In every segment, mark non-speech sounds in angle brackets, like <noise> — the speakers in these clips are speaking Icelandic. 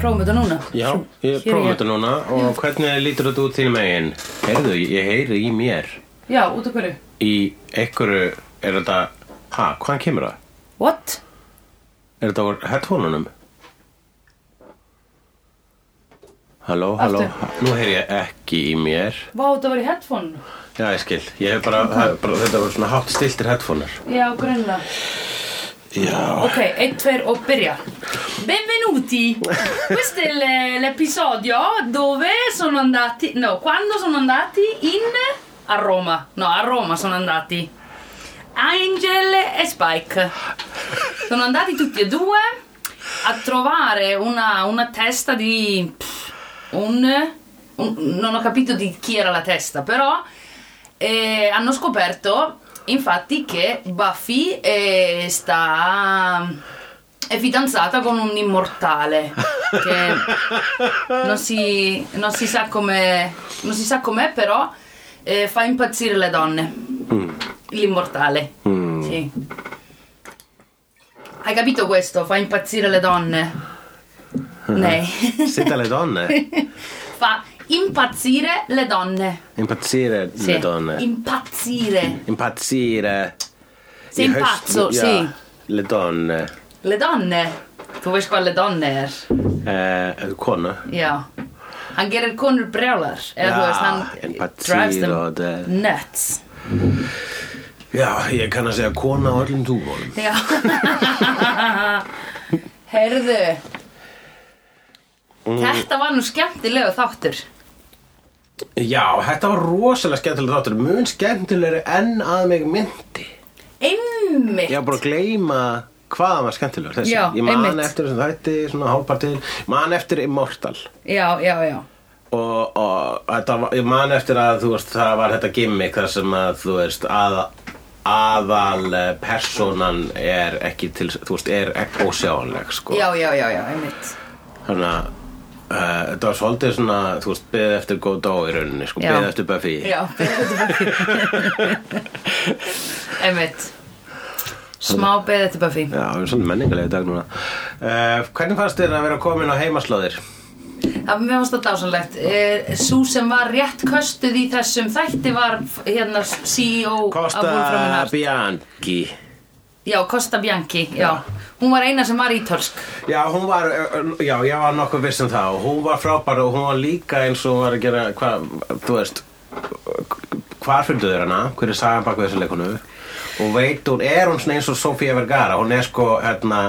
prófum þetta núna Já, Svo- hér ég er prófum þetta núna og hvernig lítur þetta út þínum eigin? Heyrðu, ég heyri í mér Já, út af hverju í einhverju, er þetta ha, hvaðan kemur það? What? Er þetta á headphone-unum? Halló, halló, Aftur. ha- nú heyri ég ekki í mér Vá, þetta var í headphone Já, ég skil, ég hef bara, það er bara þetta voru svona hátt stiltir headphone-ar Já, grunna Já, Ok, einn, tveir og byrja Benvenuti Questo è l- l'episodio dove sono andati No, quando sono andati in A Roma No, a Roma sono andati Angel e Spike Sono andati tutti e due A trovare una, una testa di pff, un, un- Non ho capito di chi era la testa Però eh, hanno scoperto infatti che Buffy eh, sta è fidanzata con un immortale che non si, non si sa come non si sa com'è però eh, fa impazzire le donne l'immortale sì. hai capito questo fa impazzire le donne lei sitta <laughs> le donne fa impazzire le donne Impazzire Sì. le donne impazzire Impazzire Sei Í haust- impazzo, já, sì. Le donne Le donne Þú veist hvað le donne er eh, Kona Já Hann gerir konur brjálar Eða Já, þú veist en hann patsir drives og það- them nuts Já, ég kann að segja kona á öllum túbólum <laughs> Já Heyrðu Mm. Þetta var nú skemmtilegu þáttur Já, þetta var rosalega skemmtilega þáttur Mun skemmtilegri enn að mig myndi Einmitt Ég var bara að gleyma hvað hann var skemmtilegur þessi Já, Ég man einmitt. eftir þessum þætti, svona hálfpartil Ég Man eftir Immortal Já, já, já og, og þetta, var- ég man eftir að þú veist það var þetta gimmick þar sem að þú veist að, aðal eh, persónan er ekki til þú veist er ekki ósjáanleg sko. Já, já, já, já, einmitt þannig að uh, þetta var svolítið svona þú veist beðið eftir Godó í rauninni sko, Já. beðið eftir Buffy Já Einmitt Smá beðið til Buffy Já, við erum svolítið menningalegi í dag núna uh, Hvernig fannst þér að vera komin á heimaslóðir? Það mér fannst það dásanlegt. Eh, Sú sem var rétt köstuð í þessum þætti var hérna CEO af Wolframin Kosta Hart. Bianchi Já, Costa Bianchi, já. Hún var eina sem var ítölsk. Já, hún var, uh, já, ég var nokkuð viss um það og hún var frábær og hún var líka eins og hún var að gera, hvað, þú veist, hvar fundu þér hana, hver er sagan bak við þessu leikonu og veit hún, er hún svona eins og Sofía Vergara, hún er sko, hérna,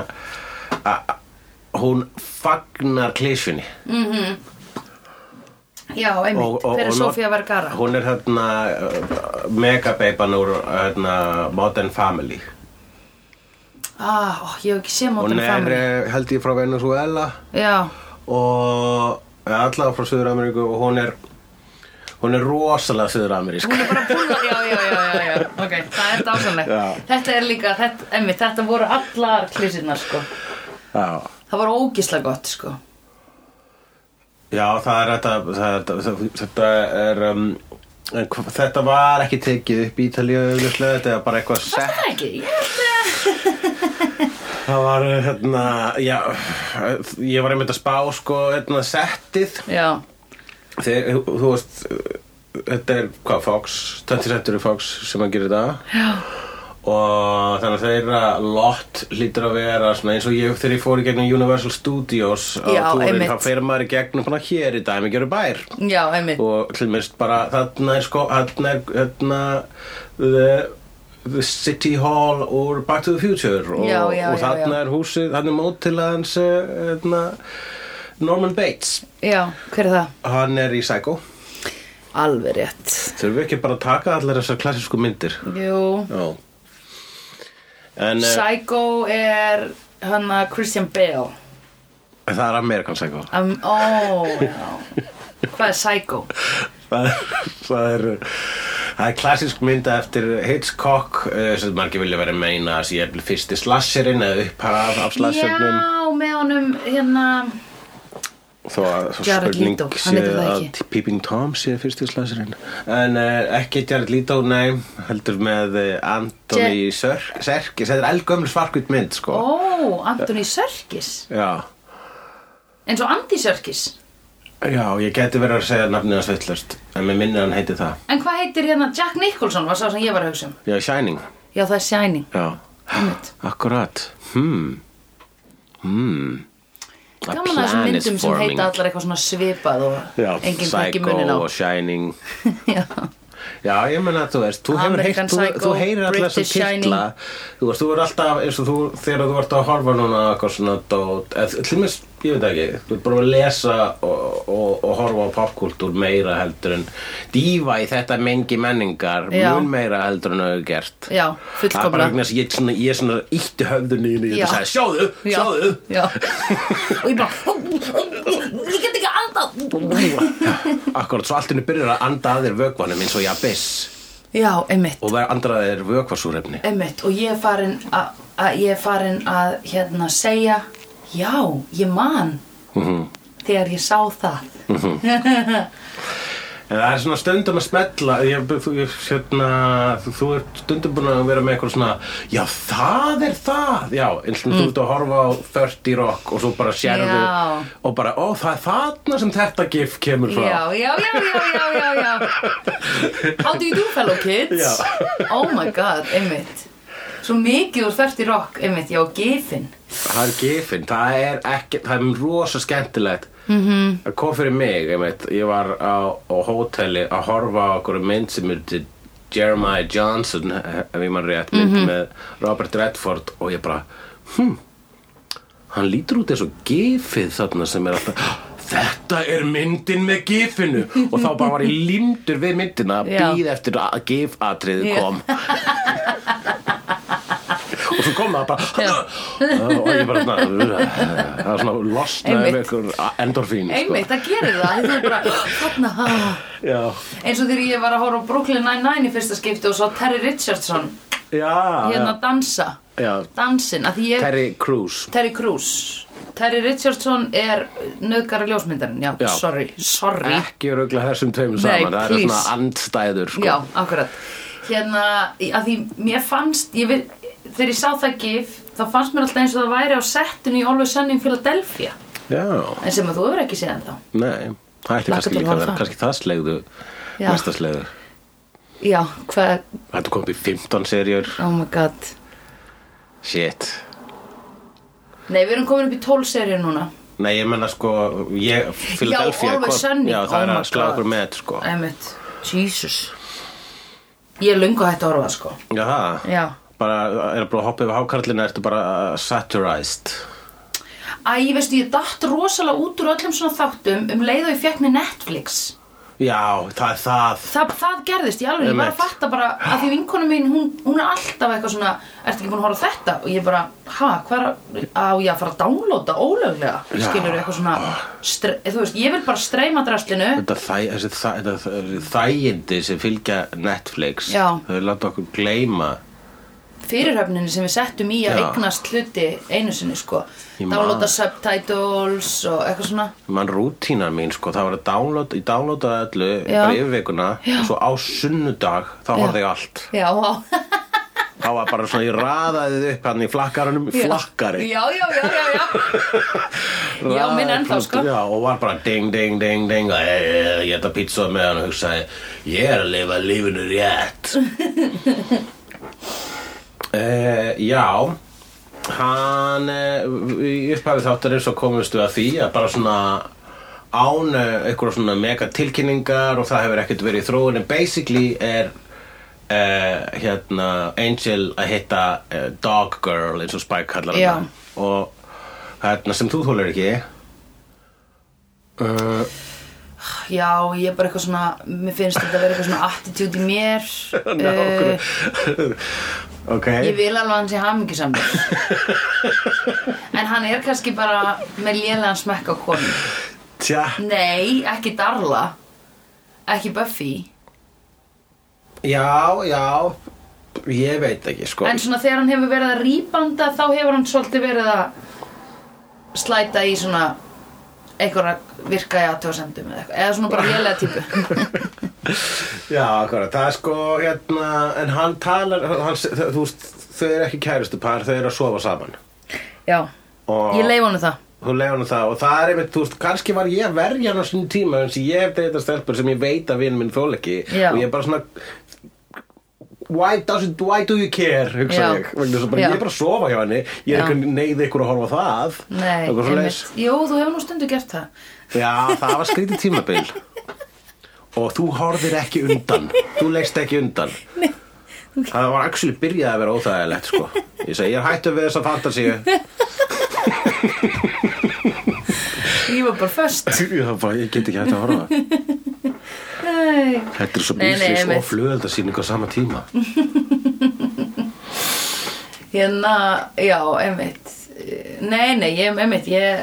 a- a- hún fagnar klísjunni Já, einmitt. Hver er not- Sofía Vergara? Hún er hérna, megabeipan úr, hérna, Modern Family Ah, ó, ég hef ekki séð mótum Hún er, fram. eh, held ég, frá Venezuela Já, og eða allavega frá Suður-Ameríku og hún er hún er rosalega Suður-Amerísk hún er bara búin að... Já, já, já, já, já. Ok, það er dásanlegt. Já. Þetta er líka, þetta, einmitt, þetta voru allar klísirnar, sko. já. Það voru ógislega gott, sko. já, það er þetta það er, þetta- þetta er um, en hva- þetta var ekki tekið upp í Ítalíu auðvitað, þetta er bara eitthvað sett Það ekki, ég held að... það var uh, hérna já, ég var einmitt að spá sko, hérna settið Já, þegar, þú veist þetta er, hvað, Fox 27 er Fox sem að gera þetta já, og þannig að þeirra lott hlýtur að vera svona eins og ég þegar ég fór í gegnum Universal Studios Já, á túrin, einmitt. þá fer maður í gegnum bara hér í dæmi gerur bær já, einmitt. og til minnst bara þarna er sko þarna er þarna the, the City Hall úr Back to the Future og, Já, já, og já, þarna já. er húsið, þarna er mótilaðans þarna, hérna, Norman Bates Já, hver er það? hann er í Psycho Alveg rétt. þurfum við ekki bara að taka allar þessar klassísku myndir Jú, já en eh, Psycho er hann að Christian Bale það er Amerikan Psycho um, Ó, já Hvað er Psycho? það er- það er það er klassísk mynda eftir Hitchcock eh, sem margir vilja vera að meina að ég er fyrsti slasherinn eða upphaf af slasherinn Já, með honum hérna þó að svo Jared spurning Leto, hann sé heitir það að ekki. Peeping Tom sé fyrsti slasherinn en uh, ekki Jared Leto, nei heldur með eh, Anthony Serk- Serkis, þetta er elgömml svarkvitt mynd sko Ó, Anthony Serkis Já eins og Andy Serkis Já, ég geti verið að segja nafnið hans villust En mér minnir hann heiti það en hvað heitir hérna Jack Nicholson var sá sem ég var að hugsa um Já, Shining já það er <gasps> Shining Já, Einmitt. akkurat Hmm Hmm A gaman að þessum plan is myndum sem forming. heita allar eitthvað svona svipað og Já, enginn takki munnin á Psycho og Shining <laughs> Já. Já, ég menna að þú veist, þú hefur American heyrt, þú, Psycho, þú heyrir alltaf British þessum titla Þú veist, þú er alltaf, eins og þú, þegar þú ert að horfa núna á eitthvað svona dót eð, Hlýmis, ég veit ekki, þú ert bara að lesa og, og, og horfa á popkultúr meira heldur en Dífa í þetta mengi menningar, Já. mun meira heldur en auðvitað gert já, Það er bara fullkomlega vegna þess að ég, svona, ég svona ítti höfðunni inn í Já. þetta og sagði, sjáðu, Já, sjáðu já. <laughs> og ég bara ég get ekki andað Akkurat, svo allt henni byrjar að anda að þér vökvanum eins og ég abyss já, einmitt og það andra að þér vökvasúrefni Einmitt, og ég er farin að- að ég er farin að hérna segja já, ég man Mhm. þegar ég sá það En það er svona stundum að smetla ég, þú, ég, hérna, þú, þú ert stundum búin að vera með eitthvað svona Já, það er það Já, eins Mm. og þú ert að horfa á 30 Rock og svo bara sérðu Já. og bara, ó, það er þarna sem þetta gif kemur frá já, já, já, já, já, já, já How do you do fellow kids? Já. Oh my god, einmitt Svo mikið úr 30 rock, einmitt, já, gifin Það er gifin, það er ekki, það er rosa skemmtilegt Mhm. -hmm. Það kom fyrir mig, ég veit, ég var á, á hóteli að horfa á okkur mynd sem er til Jeremiah Johnson, ef ég mann rétt, mynd Mhm. með Robert Redford og ég bara, hm, hann lítur út eins og gifið þarna sem er alltaf, "Ah, þetta er myndin með gifinu og þá bara var ég lindur við myndina að Já. býð eftir að gifatriðið Já. kom <laughs> og svo kom það bara Já. og ég bara svona það er svona losnaði með Einmitt. einhver endorfín Einmitt, það gerir það, þetta er bara þarna, ha. sko. já, eins og þegar ég var að horfa á Brooklyn Nine-Nine í fyrsta skipti og svo Terry Richardson Ah, já, hérna dansa já. dansin, að því ég Terry Crews Terry Crews Terry Richardson er nöðgara ljósmyndarinn já, Já. sorry, sorry ekki rugla þessum tveimur saman það eru please. svona andstæður sko. já, akkurat hérna, í- að því mér fannst ég vil, þegar ég sá það gif þá fannst mér alltaf eins og það væri á settinu í Always Sunny in Philadelphia já, en sem að þú hefur ekki séð en þá nei það ætti Hlakka kannski til að líka horfa að vera það. kannski það slegðu Já. næsta slegðu já, hvað, þetta kom upp í 15 serjur oh my god shit nei, við erum komin upp í 12 serið núna nei, ég menna sko ég, Philadelphia Always kom- Sunny, já, það oh er my að slá God. okkur með sko. emitt, jesus ég er löngu hægt að horfa á það, sko já, það já bara, er bara að hoppa yfir hákarlina ertu bara uh, satirized Æ, veistu, ég datt rosalega út úr öllum svona þáttum um leið og ég fekk með Netflix. Já, það er það það, það gerðist, ég alveg, ég var að Einmitt. fatta bara að því vinkonu mín, hún, hún er alltaf eitthvað svona ertu ekki búin að horfa á þetta og ég bara, ha, hvað er að, á ég að fara að downloada ólöglega, Já. skilur eitthvað svona stre, þú veist, ég vil bara streyma drastlinu Þetta þæ, þessi þæ, þetta þæ- þægindi sem fylgja Netflix Já. Þau láta okkur gleyma fyrirhöfninu sem við settum í að Já. eignast hluti einu sinni, sko Ég man. downloada subtitles og eitthvað svona Man rútína mín, sko, það var að download, ég downloadaði öllu Já. bara yfir vikuna Já. og svo á sunnudag þá horfði ég á allt já, á- þá var bara svona, ég raðaði þið upp hann í flakkaranum, flakkari já, já, já, já, <laughs> já. Já, minn ennþá, sko. Já, og var bara ding, ding, ding, ding og eh, eh, ég ætta pizza með hann og hugsaði ég er að lifa lífinu rétt <laughs> uh, Já hann eh, í upphafi þáttarins svo komumst við að því að bara svona án eh, einhverja svona mega tilkynningar og það hefur ekkert verið í þróun en basically er Uh, hérna Angel að hitta uh, Dog Girl eins og Spike kallar Já. hana og hérna sem þú þólar ekki Uh, já, ég er bara eitthvað svona mér finnst þetta að vera eitthvað svona attitude í mér <laughs> <laughs> ná, Eh, okkur- <laughs> ok Ég vil alveg að hann sé <laughs> hamingisamur En hann er kannski bara með lélegan smekk á konu Tja, Nei, ekki Darla Ekki Buffy já, já Ég veit ekki, sko En svona þegar hann hefur verið að rýbanda Þá hefur hann svolítið verið að Slæta í svona Einhverja virka í aðtöðasendum Eða, eitthvað. eða svona bara lélega típu Já, akkurat, það er sko hérna, En hann talar hann, þau- Þú veist, þau eru ekki kærustu par Þau eru að sofa saman Já, Og ég leif honum það hún leiði hann það og það er einmitt, þú veist, kannski var ég að verja hann á sinni tíma eins og ég hef deyta stelpur sem ég veit að vinn minn þól ekki Já. og ég er bara svona why, doesn't, why do you care hugsa Já. ég, vegna þess að bara, Já. ég er bara að sofa hjá henni ég er Já. ekki að neyði ykkur að horfa á það Nei, Eitthvað svoleiðis. einmitt. Jú, þú hefur nú stundu gert það. Já, það var skrítið tímabil Og þú horfir ekki undan Þú leggst ekki undan Það var actually byrjað að vera óþægilegt sko. Ég segi, ég er hættu við þessa fantasíu Ég var bara föst. Ég, bara, ég get ekki hægt að horfa Nei. Þetta er svo Nei, nei, bíflis einmitt. og flugöldasýning á sama tíma Hérna, já, einmitt Nei, nei, ég, einmitt ég,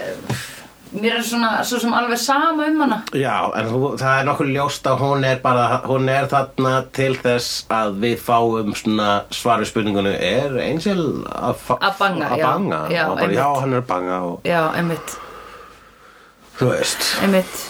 Mér er svona, svo sem alveg sama um hana Já, en þú, það er nokkuð ljóst að hún er bara Hún er þarna til þess að við fáum svona svaru spurningunum Er Angel að fa- Að banga, að já. banga? Já, Og bara, einmitt. já, hann er að banga og, Já, einmitt, Þú veist einmitt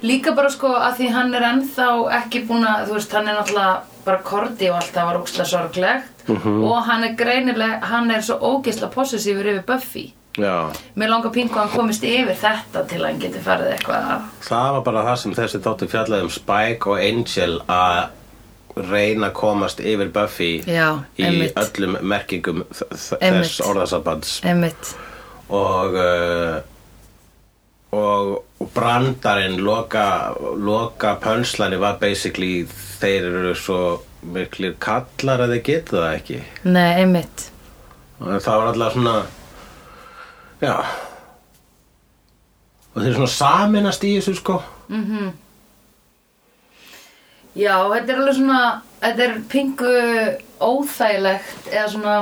Líka bara sko að því hann er ennþá ekki búin að, þú veist, hann er náttúrulega bara kordi og allt það var ógislega sorglegt Mhm. og hann er greinilega, hann er svo ógislega possessífur yfir Buffy Já Mér langar pingu að hann komist yfir þetta til að hann geti farið eitthvað að Það var bara það sem þessi þáttu fjallaði um Spike og Angel að reyna að komast yfir Buffy Já, í einmitt. öllum merkingum þ- þ- Einmitt. þess orðasabands Einmitt, og, uh, og, og brandarinn loka, loka pönslani var basically þeir eru svo miklir kallar að þeir geta það ekki nei, einmitt og það var alltaf svona já og þeir svona saminast í þessu sko Já, þetta er alveg svona, þetta er pingu óþægilegt eða svona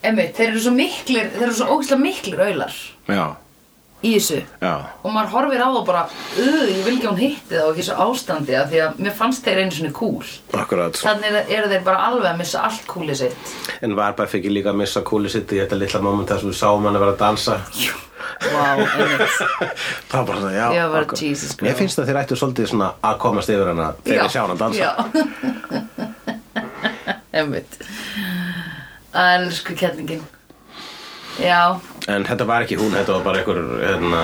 Einmitt, þeir eru svo miklir, þeir eru svo ógeðslega miklir auðlar Já, í þessu já og maður horfir á það bara, uh, ég vil ekki að hún hitti það og ekki þessu ástandi af því að mér fannst þeir einu svona kúl Akkurat. Þannig eru- eru þeir bara alveg að missa allt kúlið sitt En var bara ekki líka að missa kúli sitt í þetta litla moment þar sem við sáum hann að vera að dansa. Vá, einmitt <laughs> það var bara svona, já. Já, bara, akkurat. Jesus Christ. Mér finnst að þér ættu svolítið svona að komast yfir hana þegar við sjá hana dansa. Já <laughs> Einmitt Elsku kettingin Já, En þetta var ekki hún, þetta var bara einhver, hérna,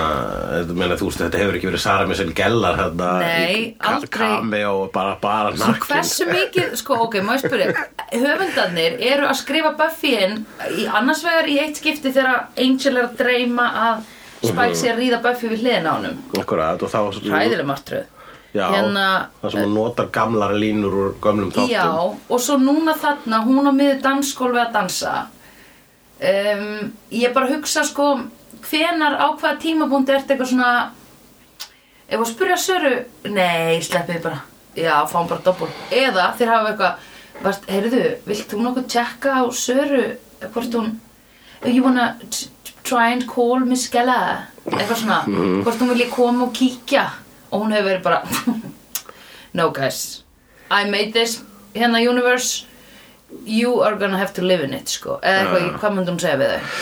þetta meina þú veist, þetta hefur ekki verið Sara Missel Gellar, hérna. Nei, aldrei. Kami og bara, bara Svo nakkin. hversu mikið, sko, ok, má ég spyrja Höfundarnir eru að skrifa Buffy inn í annars vegar í eitt skipti þegar Angel er að dreyma að Spike Mhm. sé að ríða Buffy við hliðina á honum Akkurat, og þá... Hræðileg martröð Já, Hérna- það sem hún notar gamlar línur úr gömlum þáttum. Já, og svo núna þarna hún á miður dansgólfi að dansa um, Ég bara hugsa sko hvenar á hvaða tímabúndi ertu eitthvað svona Ef að spyrja Söru Nei, sleppið bara Já, fáum bara doppul Eða þeir hafa eitthvað Vart, heyrðu, vilt þú nokkuð tjekka á Söru Hvort hún You wanna t- t- try and call Miss Gella Eitthvað svona Hvort hún vilji koma og kíkja Og hún hefur verið bara <laughs> No guys, I made this hérna universe You are gonna have to live in it sko Eða eitthvað, Já. ég- hvað myndi hún segja við þau?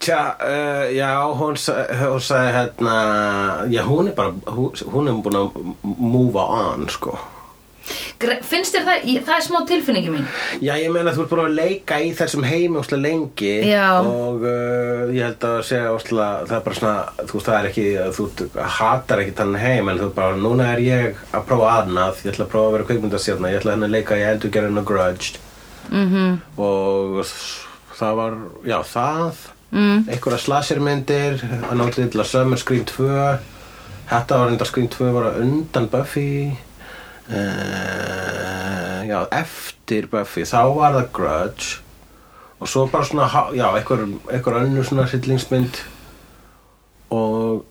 Tja, uh, já, hún, sa- hún sagði hérna, já, hún er bara, hún, hún er búin að move on, sko. Gre- Finnst þér það, ég, það er smá tilfinningi mín Já, ég meina þú ert búin að leika í þessum heimi óslega lengi Já. og uh, ég held að segja óslega, það er bara svona, þú veist, það er ekki, að þú t- hatar ekki þannig heim, en þú er bara, núna er ég að prófa aðnað, ég ætla að prófa að vera kvikmyndastjarna, ég ætla henni að leika í endurgerðinu grudged mm -hmm. og s- það var, já, það, mm. einhverja slashermyndir, að náttu til að Summer Scream 2, þetta var enda Scream 2 var á undan Buffy, Uh, já, eftir Buffy þá var það Grudge og svo bara svona, há- já, einhver, einhver önnur svona hryllingsmynd og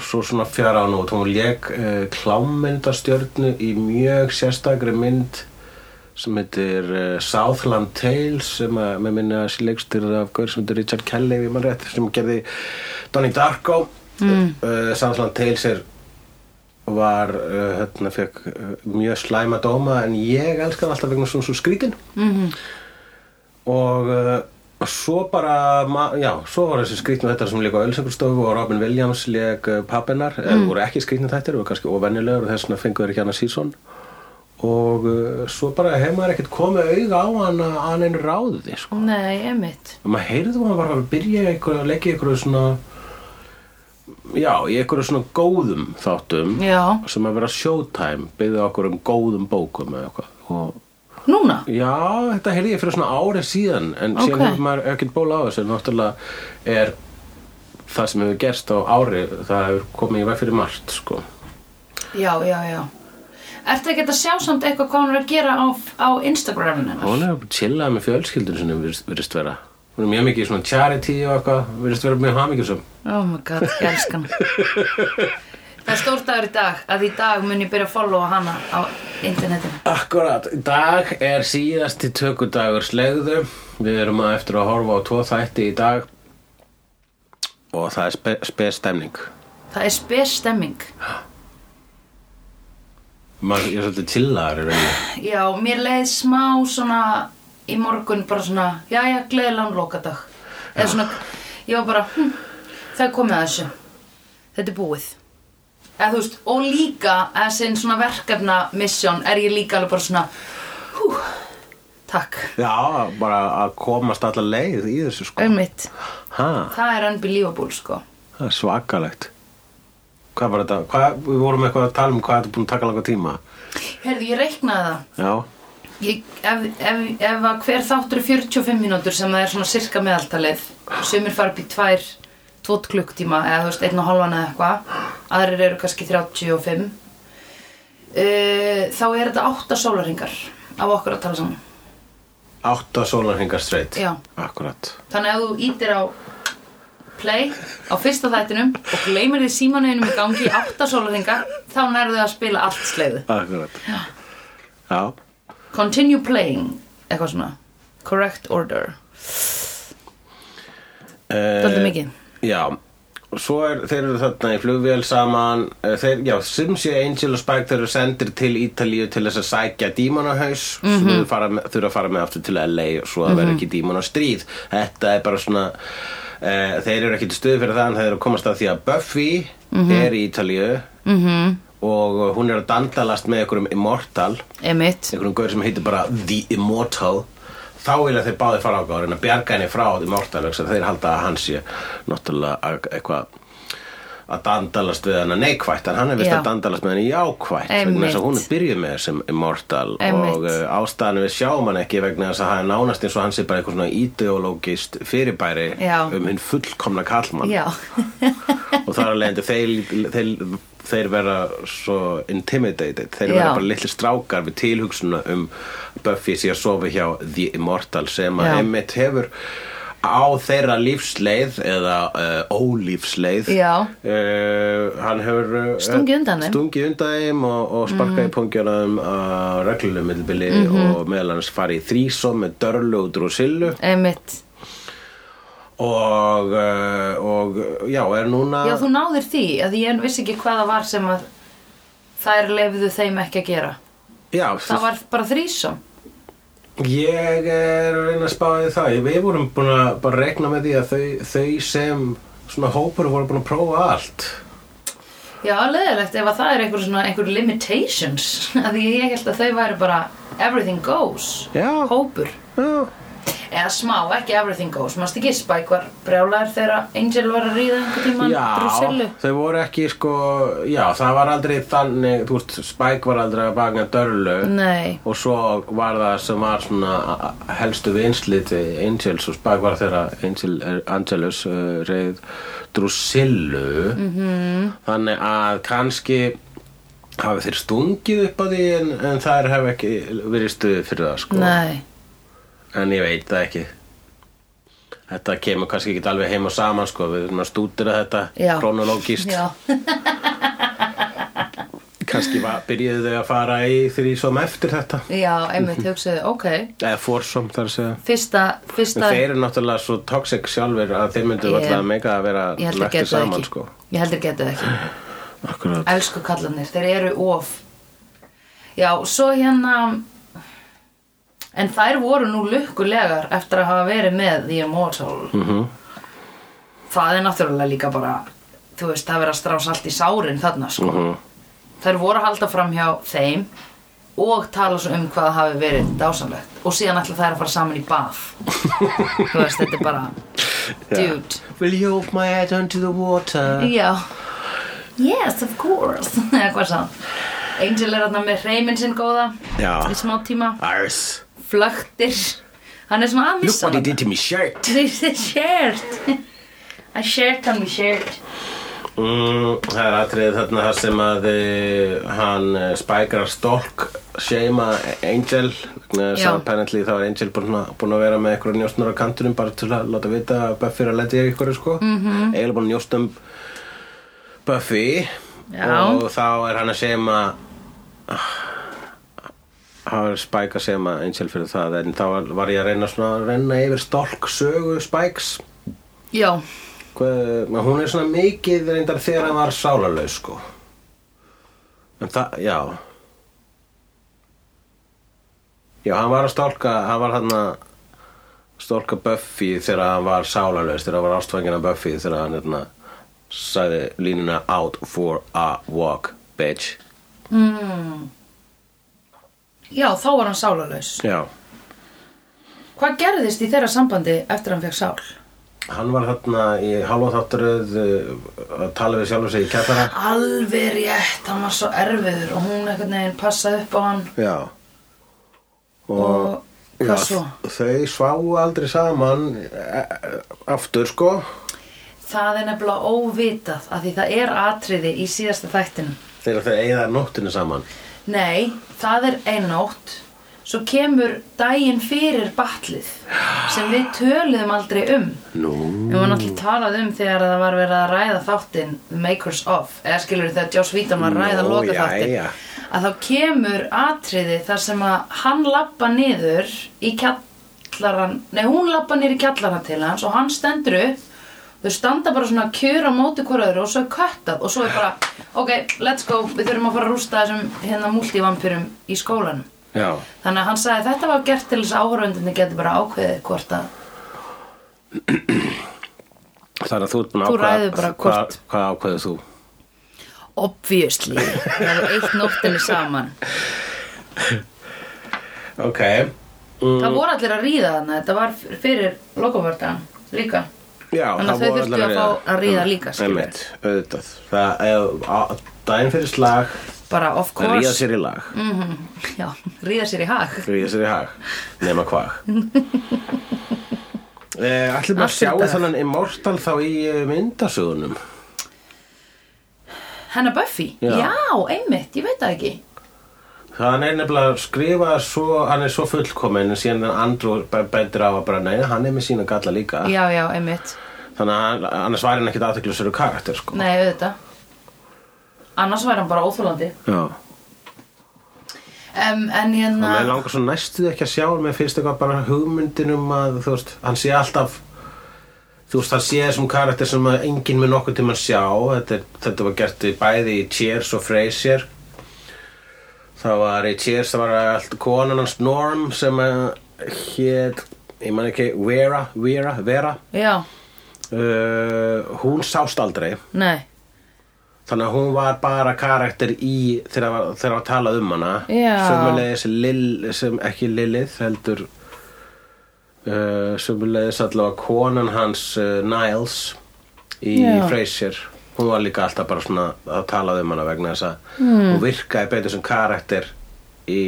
svo svona fjara á nút hún leik uh, klámmyndastjörnu í mjög sérstakri mynd sem heitir uh, Southland Tales sem að, með minna að sé leikstur af gaur sem heitir Richard Kelly ef ég man rétt, sem gerði Donnie Darko mm. uh, Southland Tales er var, uh, hérna, fekk uh, mjög slæma dóma en ég elska hann alltaf vegna svona svo skrítin mm -hmm. og uh, svo bara, ma- já, svo var þessi skrítnu þetta sem líka á Ölsengarstofu og Robin Williams eh, leik uh, pappinar, mm. voru ekki skrítnu þættir voru kannski óvenjulegur og þess vegna fengur þeir ekki annað sísón og uh, svo bara hefur maður ekkert komið auga á hana að einu ráði sko. Nei, emitt. og maður heyrði hún bara að byrja einhver, að leggja í einhverju svona já, í einhverju svona góðum þáttum Já. sem að vera showtime byggði okkur um góðum bókum eða eitthvað og Núna? Já, þetta heyrði ég fyrir svona árið síðan en Ok. síðan hefur maður ekkert bóla á þessu náttúrulega er það sem hefur gerst á ári það hefur komið í veg fyrir margt sko. Já, já, já. Ertu ekki að sjá samt eitthvað hvað hún er að gera á, á Instagraminu? hennar? hún er að chilla með fjölskyldun sinni virðist, virðist vera hún er mjög mikið í svona charity og eitthvað virðist vera mjög hamingjusum Oh my god, ég elska hana <laughs> Það er stór dagur í dag að í dag mun ég byrja að followa hana á internetinu Akkurat, í dag er síðasti tökudagur slegðu Við erum að eftir að horfa á tvo þætti í dag og það er spe, spes stemning Það er spes stemming Maður, ég er svolítið chillaður í rauninni Já, mér leið smá svona í morgun bara svona Jæja, gleðilegan lokadag Eða svona, ég var bara hm, Það er komið að þessu Þetta er búið Eða þú veist, og líka eða sinn svona verkefna mission er ég líka alveg bara svona Hú, takk Já, bara að komast alla leið í þessu sko. Einmitt, Ha, það er unbelievable sko það er svakalegt. Hvað var þetta? Hvað, við vorum eitthvað að tala um hvað þetta er búin að taka langa tíma. Herðu, ég reiknaði það Já, Ég, ef, ef, ef að hver þáttur er 45 mínútur sem það er svona sirka meðaltalið sumir fara upp í tvær tótt klukktíma eða þú veist einn og halvan eða eitthvað aðrir eru kannski 35 uh, þá er þetta 8 sólarhingar af okkur að tala saman átta sólarhingar straight. Já. Akkurat. þannig að ef þú ítir á play á fyrsta þættinum og gleymir því símanuðinum í gangi í 8 sólarhingar þá nærðu að spila allt sleiðu Akkurat. Já. Já, continue playing eitthvað svona correct order Daldið Dálítið mikið. Já, og svo er, þeir eru þarna í flugvél saman eh, þeir, Já, sem sé Angel og Spike þeir eru sendir til Ítalíu til þess að sækja dímanahaus mm -hmm. sem þau fara með- þurfa að fara með aftur til LA og svo að vera ekki dímanastríð Þetta er bara svona uh, þeir eru ekki til stuði fyrir það en þeir eru að komast að því að Buffy er í Ítalíu -hmm. og hún er að dandalast með einhverjum Immortal emitt einhverjum gaur sem heitir bara The Immortal þá vilja þeir báði fara á gáður en að bjarga henni frá The Immortal vegna þess að þeir halda að hann sé náttúrulega að- eitthvað að dandalast við hana neikvætt en hann er vist Já. að dandalast með henni jákvætt vegna þess að Einmitt. hún er byrjuð með þessum Immortal Einmitt. og uh, ástæðan við sjáum hann ekki vegna þess að hann er nánast eins og hann sé bara eitthvað svona ideológist fyrirbæri Já. um hinn fullkomna kallmann Já, <laughs> og þar að leiðandi þeir, þeir, þeir vera svo intimidated þeir vera Já. bara litli strákar við tilhugsuna um Buffy sé að sofa hjá The Immortal sem að Já. Emmett hefur á þeirra lífsleið eða uh, ólífsleið Já. Eh, hann hefur uh, Stungið undan þeim. Mm. stungið undan þeim og, og sparkað í pungjana um uh, reglunum millibili Mhm. og meðal hans farið í þrísom með Dörlu og Drusillu emitt og, uh, og já, er núna Já, þú náðir því, að ég vissi ekki hvað það var sem að þær lefðu þeim ekki að gera já, Það var bara þrísom Ég er að reyna að spá því það. Við vorum búin að bara rekna með því að þau, þau sem svona hópur voru búin að prófa allt. Já, leðilegt ef að það er einhver, svona, einhver limitations <laughs> að því ég held að þau væri bara everything goes Já. Hópur Já. Eða smá, ekki everything goes Mást ekki Spike var brjálæður þegar Angel var að ríða einhvern tímann Drusillu þau voru ekki sko, já, það var aldrei þannig, þú veist, Spike var aldrei að baka dörlu Nei, og svo var það sem var svona a- a- helstu vinslið til Angels og Spike var þeirra Angel, er- Angelus uh, reyð Drusillu -hmm. Mhm. þannig að kannski hafi þeir stungið upp á því en, en þær hef ekki verið í stuði fyrir það sko nei en ég veit það ekki þetta kemur kannski ekki alveg heim og saman sko við erum að stúdira þetta Já. kronológist Já, kannski var, byrjuðu þau að fara í þrísom eftir þetta já, einmitt hugsaði, ok eða fórsom þar að segja Fyrsta, fyrsta Þeir eru náttúrulega svo toxic sjálfur að þeir myndu Ég- alltaf að meika að vera Ég held að lektir geta það saman ekki sko. Ég held að geta það ekki Akkurat. Elsku kallarnir, þeir eru of Já, svo hérna En þær voru nú lukkulegar eftir að hafa verið með The Immortal -hmm. Það er náttúrulega líka bara Þú veist, það verið að strása allt í sárin þarna sko. -hmm. Þær voru að halda fram hjá þeim og tala svo um hvað það hafi verið dásamlegt og síðan ætla þær að fara saman í bath þú veist, þetta er bara dude Will you open my head onto the water? Já Yes, of course <laughs> Eða hvað sá Angel er þarna með reymin sinn góða Já. Í smá tíma Ars. Flögtir Hann er svona að Look missa what he did to me shirt. This is shared I shared on me shared Mm, það er atrið þarna þar sem að uh, hann uh, spækrar stokk seima Angel Já. sem apparently þá er Angel búin að, búin að vera með eitthvað njóstnur á kantunum bara til að láta vita að Buffy er að leta í eitthvað sko. mm Mhm. -hmm. eiginlega búin að njóst um Buffy Já. og þá er hann að seima hann er Spike að seima Angel fyrir það en þá var- var ég að reyna svona að renna yfir stokk sögu Spikes Já, Hvað, maður- hún er svona mikið reyndar þegar hann var sálarlaus sko en það, já já, hann var að stálka hann var hann að stálka Buffy þegar hann var sálarlaus þegar hann var ástfangin af Buffy þegar hann hérna, sagði línuna out for a walk, bitch já þá var hann sálalaus já, Hvað gerðist í þeirra sambandi eftir hann fekk sál? hann var þarna í halvóþátturöð að tala við sjálfur sig í kjallara Alveg rétt, hann var svo erfiður og hún einhvern veginn passaði upp á hann Já Og, Og hvað já, svo? Þau sváu aldrei saman e, e, aftur sko Það er nefnilega óvitað af því það er atriði í síðasta þættinum þegar þau eigða nóttinu saman Nei, það er ein nótt Svo kemur daginn fyrir batlið sem við töluðum aldrei um Nú Við varum náttúrulega talað um þegar það var verið að ræða þáttinn The Makers Of eða skilur þegar Joss Whedon var að ræða Nú, loka þáttinn jæja. að þá kemur atriði þar sem að hann lappa niður í kjallaran nei, hún lappa niður í kjallaran til hans og hann stendur upp þau standa bara svona kjur á móti hver öðru og svo er köttað og svo er bara ok, let's go, við þurfum að fara að rústa þessum hérna múltivampirum í skólanum Já þannig að hann sagði þetta var gert til þess að áhörfundinni geti bara ákveðið hvort að Þannig að þú ert búin að Þú ákveða- ræður bara hvað, hvort- hvað ákveðu þú? Obviously, það er eitt nóttinni saman Ok Það voru allir að ríða þarna, þetta var fyrir lokavördan líka Já, Þannig að það þau voru þurftu allir að fá að ríða líka, skilur. Einmitt, auðvitað Það er daginn fyrir slag Bara of að ríða course sér í lag Mm. Já, ríða sér í hag Ríða sér í hag Nema <laughs> hvað Eh, Ætlum að Allt í sjá dag. þannan Immortal þá í eh, myndasögunum Hennar Buffy, Já. já. einmitt, ég veit það ekki Hann er nefnilega skrifað svo, hann er svo fullkominn en síðan Andrew b- bendir á að bara nei, hann er með sína galla líka Já, já, einmitt, þannig að hann- annars væri hann ekkit aðteklusur karakter sko nei, auðvitað Annars væri hann bara óþólandi Já, um, En og hérna mér langar svo næstuð ekki að sjá mér finnst eitthvað bara hugmyndinum að þú veist, hann sé alltaf þú veist, hann sé þessum karakter sem að enginn mun nokkuð tímann sjá þetta, er, þetta var gert í bæði í Cheers og Frasier það var í Cheers það var allt konan hans Norm sem hétt, ég man ekki Vera, Vera, Vera Já, uh, hún sást aldrei nei, þannig að hún var bara karakter í þegar var, þegar var talað um hana Já. sömulegis Lill sem ekki Lilith heldur uh, sömulegis allavega konan hans uh, Niles í Já. Frasier hún var líka alltaf bara svona að talað um hana vegna þess að Hmm. mm. hún virkaði betur sem karakter í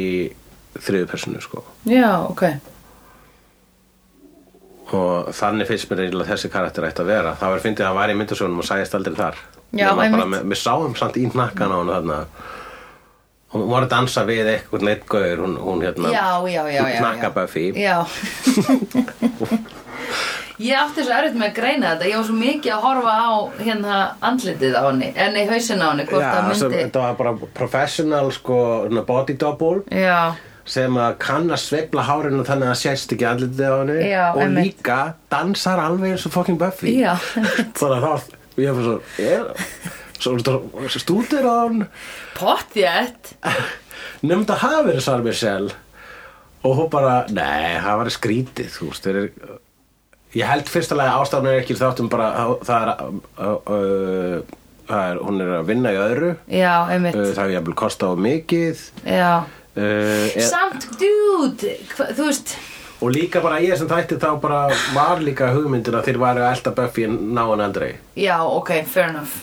þriðu personu sko já, ok og þannig finnst mér eiginlega þessi karakter ætti að vera það var fyndið að hann var í myndasögunum og sæðist aldrei þar Já, Nema bara, einmitt. með, við sáum samt í nakkan á hann þarna hún var að dansa við eitthvað neitt gaur hún, hún hérna Já, já, já, já, já. nakka Buffy Já <laughs> Ég átti svo erfitt með að greina þetta Ég var svo mikið að horfa á hérna andlitið á henni En í hausin á henni, hvort Já, það sem, myndi þetta var bara professional sko, svona body double Já, sem að kann að sveifla hárinu þannig að það sést ekki andlitið á henni Já, og einmitt. líka dansar alveg eins og fucking Buffy <laughs> Já. þannig að þá ég fyrir svo, er, svo, svo stútir á hann pottjætt nefnum þetta hafi verið Sarmi Sel og hún bara, nei, það var skrítið þú veist, þeir eru ég held fyrst alveg að ástæðan er ekki í þáttum bara, það- það er uh, uh, það er, hún er að vinna í öðru uh, Já, einmitt það er jafnvel kosta á mikið Já, Uh, er, Samt, dude, hva, þú veist og líka bara ég sem þætti þá bara var líka hugmyndin að þeir væri að elda Buffy náin andrei Já, ok, fair enough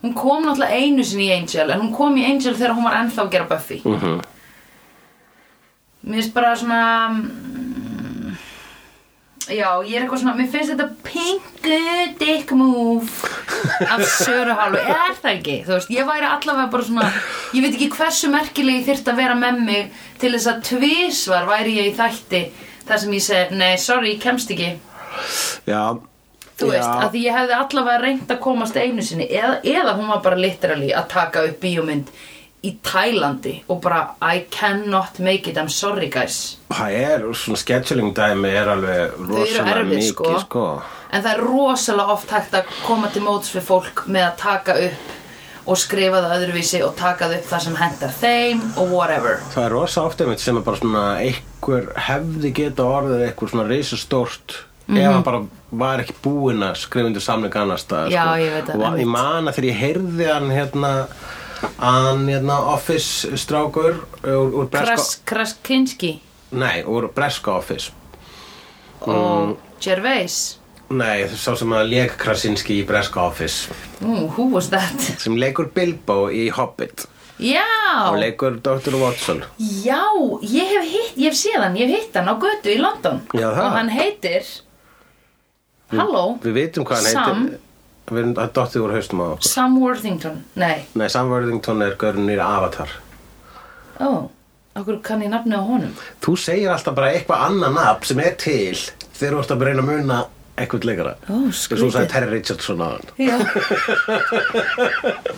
Hún kom náttúrulega einu sinni í Angel En hún kom í Angel þegar hún var ennþá að gera Buffy mm -hmm. Mér finnst bara svona mm, Já, ég er eitthvað svona Mér finnst þetta pingu dick move Af Söru Hálfu Er það ekki? Þú veist, ég væri allavega bara svona Ég veit ekki hversu merkilegi þyrft að vera með mig Til þess að tvisvar væri ég í þætti þar sem ég segi, nei, sorry, ég kemst ekki Já Þú veist, Já. að því ég hefði allavega reynd að komast einu sinni eða, eða hún var bara literally að taka upp bíómynd í Tælandi og bara I cannot make it, I'm sorry guys Það er, svona scheduling dæmi er alveg Þau eru rosalega erfið, sko. mikið, sko. en það er rosalega oft hægt að koma til móts við fólk með að taka upp og skrifa það öðruvísi og taka það upp það sem hendar þeim og whatever Það er rosa oft einmitt sem er bara svona einhver hefði geta orðið eitthvað svona reisastórt Mhm. ef hann bara var ekki búinn að skrifa undir samling annars staðar, Já, sko. ég veit það, Og einmitt. ég man að þegar ég heyrði hann hérna hann hérna office strákur úr, úr breska Kras, Kraskinski Nei, úr breska office og Mm. Gervais Nei, sá sem að leik Krasinski í breska office Ooh, who was that? <laughs> sem leikur Bilbo í Hobbit Já, og leikur Dr. Watson já, ég hef hitt, ég hef séð hann, ég hef hitt hann á götu í London Já, það. og hann heitir, halló, Við vitum hvað hann Sam. heitir Við erum að dottið úr haustum á okkur Sam Worthington, nei, Nei, Sam Worthington er görun nýra avatar ó, okkur kann ég nafni á honum. Þú segir alltaf bara eitthvað annað nafn sem er til þegar þú ert að reyna að muna eitthvað leikara Ó, Svo þú sagði skrítið. Terry Richardson á hann <laughs> Já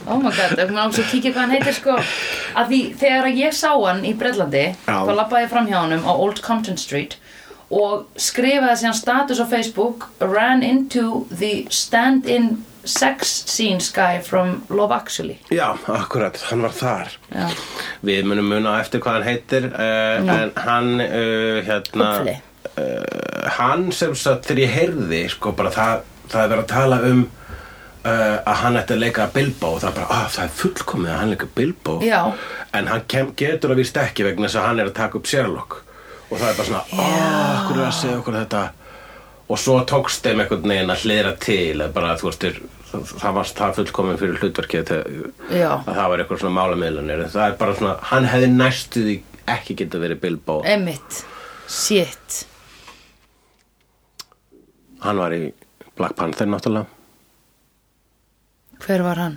Oh my god, ef maður ás að kíkja hvað hann heitir sko að því þegar ég sá hann í Bretlandi Já. þá labbaði ég fram hjá honum á Old Compton Street og skrifaði síðan status á Facebook ran into the stand-in sex scenes guy from Love Actually Já, akkurat, hann var þar Já. Við munum muna á eftir hvað hann heitir uh, Já. En hann, uh, hérna Hopefully. uh, Hann sem satt þegar ég heyrði sko bara það, það er verið að tala um uh, að hann ætti að leika Bilbo og það er bara, að það er fullkomið að hann leika Bilbo Já. En hann kem, getur að víst ekki vegna þess að hann er að taka upp Sherlock Og það er bara svona, áh, hverju er að segja okkur þetta Og svo tókst þeim einhvern veginn að hlera til að bara, þú veist, þeir- það það var það fullkomið fyrir hlutverkið þegar- Já. að það var eitthvað svona málamiðlanir en það er bara svona, hann hefði næstu því ekki geta verið Bilbo Eh. Emmitt, shit hann var í Black Panther náttúrulega Hver var hann?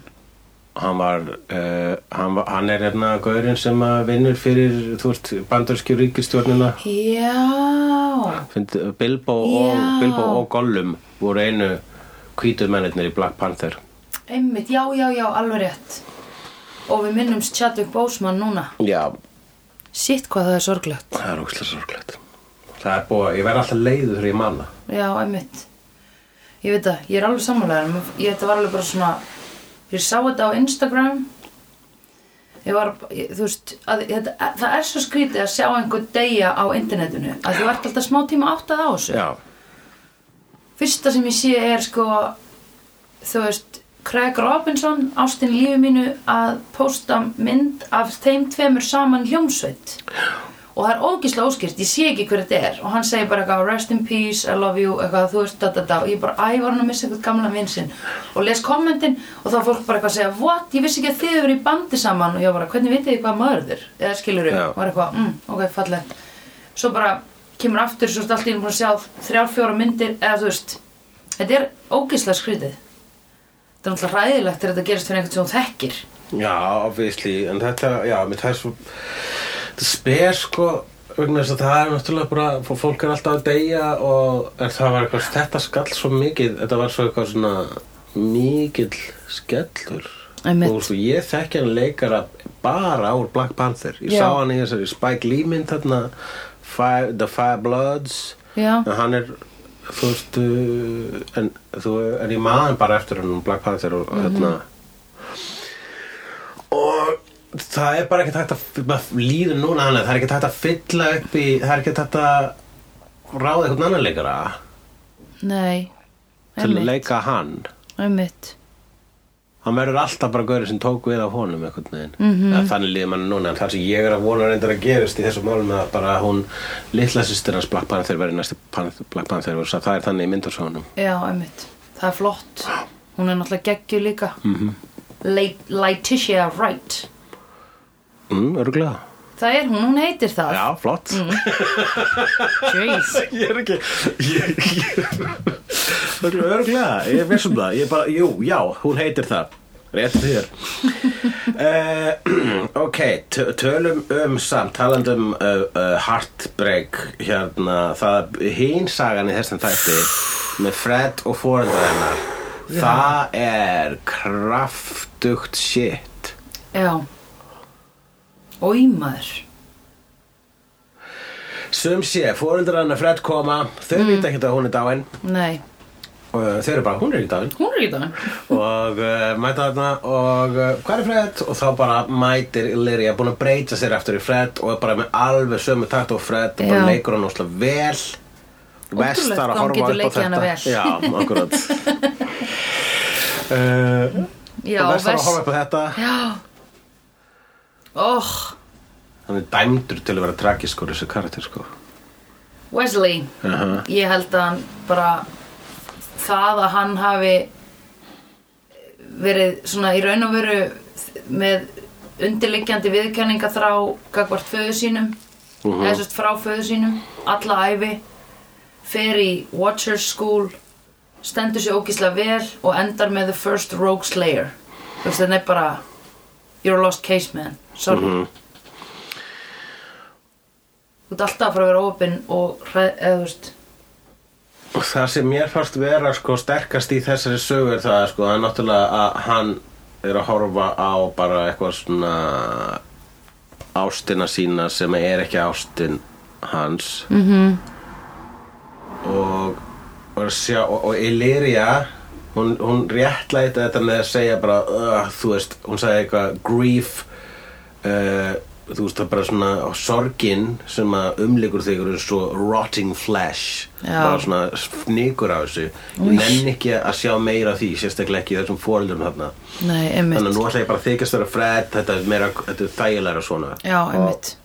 hann var, uh, hann, var hann er hérna gaurinn sem að vinnur fyrir þú veist, bandarskjur ríkistjórnina Já Find, Bilbo, eh, og, Já. Bilbo og Gollum voru einu hvítur mennirnir í Black Panther Emmitt, já, já, já, alveg rétt og við minnumst Chadwick Boseman núna já, Sitt hvað það er sorglegt. það er ókslega sorglegt það er búið, ég verð alltaf leiður þegar ég manna Já, einmitt. Ég veit það, ég er alveg sammálaður. Ég þetta var alveg bara svona, ég sá þetta á Instagram. Ég var, ég, þú veist, að, þetta, það er svo skrítið að sjá einhver deyja á internetinu. Að þú ert alltaf smá tíma áttað á þessu. já, Fyrsta sem ég sé er sko, þú veist, Craig Robinson, ástinn í lífi mínu, að posta mynd af þeim tveimur saman hljómsveit. Og það er ógislega óskýrt, ég sé ekki hver þetta er. Og hann segir bara eitthvað, rest in peace, I love you, eitthvað, þú veist, da, da, da. Og ég bara, æ, var hann að missa eitthvað gamla vinsinn. Og les kommentin og þá er fólk bara eitthvað að segja, what, ég vissi ekki að þið eru í bandi saman. Og ég bara, hvernig vitið þið hvað maður þér? Eða skilur Já. og er eitthvað, mm, ok, fallegt. Svo bara kemur aftur, svo er allt í einu búin að sjá þrjár, fjóra myndir, eða þú veist, þetta er ógislega skrítið. Þetta er náttúrulega ræðilegt þegar þetta gerist fyrir einhvern sem hún þekkir. Já, obviously, en þetta, já, mér það er svo, þetta spyr sko, vegna þess að það er náttúrulega bara, fó- fólk er alltaf að deyja og er, það var eitthvað, þetta skall svo mikið, þetta var svo eitthvað svona mikill skellur. Einmitt. Og svo ég þekki hann leikara bara úr Black Panther, ég Já. sá hann í þessari Spike Lee mynd þarna, Five, The Five Bloods, Já. en hann er, þú veist, uh, en, þú, en ég maður bara eftir hann um Black Panther og hérna, og það er bara ekkert hægt að maður líður núna annað, það er ekkert hægt að fylla upp í það er ekkert hægt að ráða einhvern annan leikara Nei, til að leika hann einmitt. hann verður alltaf bara gaurið sem tók við af honum einhvern veginn Eða þannig líður mann núna en það sem ég er að vona reyndar að gerist í þessum málum er að bara hún litla systir hans Black Panther verður næsti Pan- Black Panther og það er þannig í myndarsónum Já, einmitt. Það er flott. Hún er náttúrulega geggju líka. Mhm. Mm -hmm. Laetitia Wright. mm, örgulega Það er hún, hún heitir það. já, flott Jeez. <laughs> ég er ekki ég, ég, það er örglega, ég veist um það ég bara, jú, já, hún heitir það rétt þér uh, <clears throat> ok, tö- tölum um samt, talandum uh, uh, heartbreak hérna, það hinn sagan í þessum þætti með Fred og foreldra hennar það er kraftugt shit Já. Ói maður. sum sé, foreldra hennar Fred koma þau vita ekki að hún er dáin Nei. og uh, þau eru bara, hún er ekki dáin Hún er í það. og uh, mæta þarna og uh, hvað er Fred? og þá bara mætir Illyria búin að breyta sér eftir í Fred og er bara með alveg sömu takt og Fred og bara Já. leikur hann óslega vel Best þarf hvað að hún horfa getur upp á leikið hana þetta vel. Já, <laughs> akkurat uh, Já, Best þarf að vers- horfa upp á þetta Já. Oh, Hann er dæmdur til að vera tragiskur þessi karakter sko Wesley. uh -huh. Ég held að hann bara það að hann hafi verið svona í raun og veru með undirliggjandi viðkenninga þrá gagvart föðu sínum Mhm. eða sérst frá föðu sínum alla æfi fer í Watchers School stendur sér ógíslega vel og endar með The First Rogue Slayer þú veist þannig bara You're a lost case man, sorry Mhm. Þú ert alltaf að fara að vera opinn og hræð, eða þú veist Og það sem mér fannst vera sko sterkast í þessari sögu er það sko, það er náttúrulega að hann er að horfa á bara eitthvað svona ástina sína sem er ekki ástin hans -hmm. og, og, að sjá, og, og Illyria hún, hún réttlæti þetta með að segja bara uh, þú veist, hún sagði eitthvað grief uh, þú veist það er bara svona sorgin sem að umlikur þig eru svo rotting flesh Já. bara svona fnikur á hérna, þessu ég nenni ekki að sjá meira af því sérstaklega ekki í þessum fóreldum þarna Nei, einmitt þannig að nú ætla ég bara að þykjast vera fred þetta er meira, þetta er þægilega svona Já, einmitt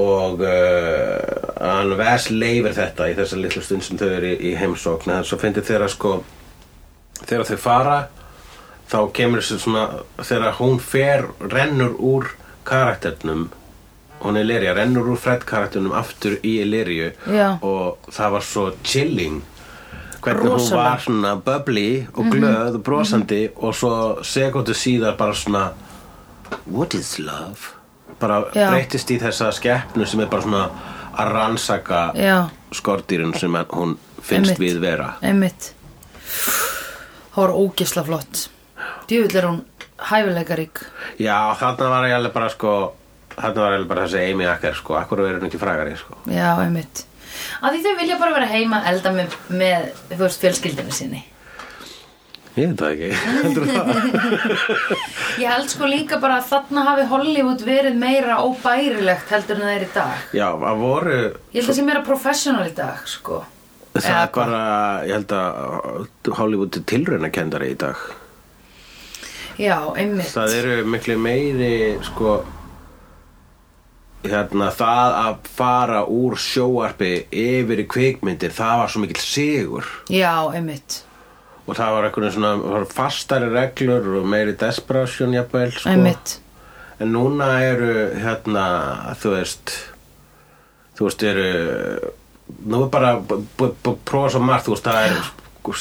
og uh, hann Ves leifir þetta í þessa litlu stund sem þau eru í, í heimsókn en svo finnir þeirra sko þegar þau fara þá kemur þessu svona þegar hún fer, rennur úr karakternum hún er Illyria, rennur úr Fred karakternum aftur í Illyriu Já. og það var svo chilling hvernig hún Rosalega. Mhm. var svona bubbly og glöð og brosandi og svo segundu síðar bara svona what is love bara Já. breytist í þessa skeppnu sem er bara svona að rannsaka Já. skordýrun sem að hún finnst Einmitt. við vera Einmitt Það var ógisla flott Djöfull er hún hæfileikarík já þarna var ég alveg bara sko þarna var ég alveg bara þessi Amy Acker sko akkur er hún ekki frægari sko Já, einmitt Að því þau vilja bara vera heima að elda með, með þú veist, fjölskyldinu sinni ég veit það ekki <laughs> Heldur það? Ég held sko líka bara að þarna hafi Hollywood verið meira óbærilegt heldur en það er í dag já að voru Ég held að það sé meira professional í dag, sko það Eða er bara ég held að Hollywood er tilraunakendari í dag Já, einmitt það eru miklu meiri sko hérna það að fara úr sjóarpi yfir í kvikmyndir það var svo mikill sigur Já, einmitt og það var eitthvað svona það voru fastari reglur og meiri desperation jafnvel sko Einmitt en núna eru hérna þú veist þú veist eru nú er bara búið bú, bú, prófa svo margt þú veist það er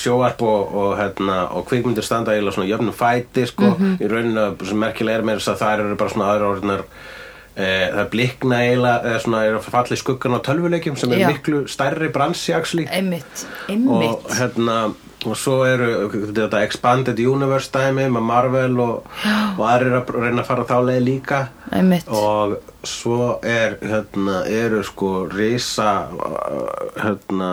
sjóarp og, og, hérna, og kvikmyndir standa eiginlega svona í jöfnum fæti sko, Mhm. í rauninu sem merkilega er með þess að það eru bara svona aðra orðinar e, það blikna eiginlega eða svona eru að falla í skuggan á tölvuleikjum sem er Já. miklu stærri bransi axli Einmitt og Einmitt hérna og svo eru þetta Expanded Universe dæmi með Marvel og, og aðrir að reyna að fara þá leið líka Einmitt og svo er hérna, eru sko risa uh, hérna,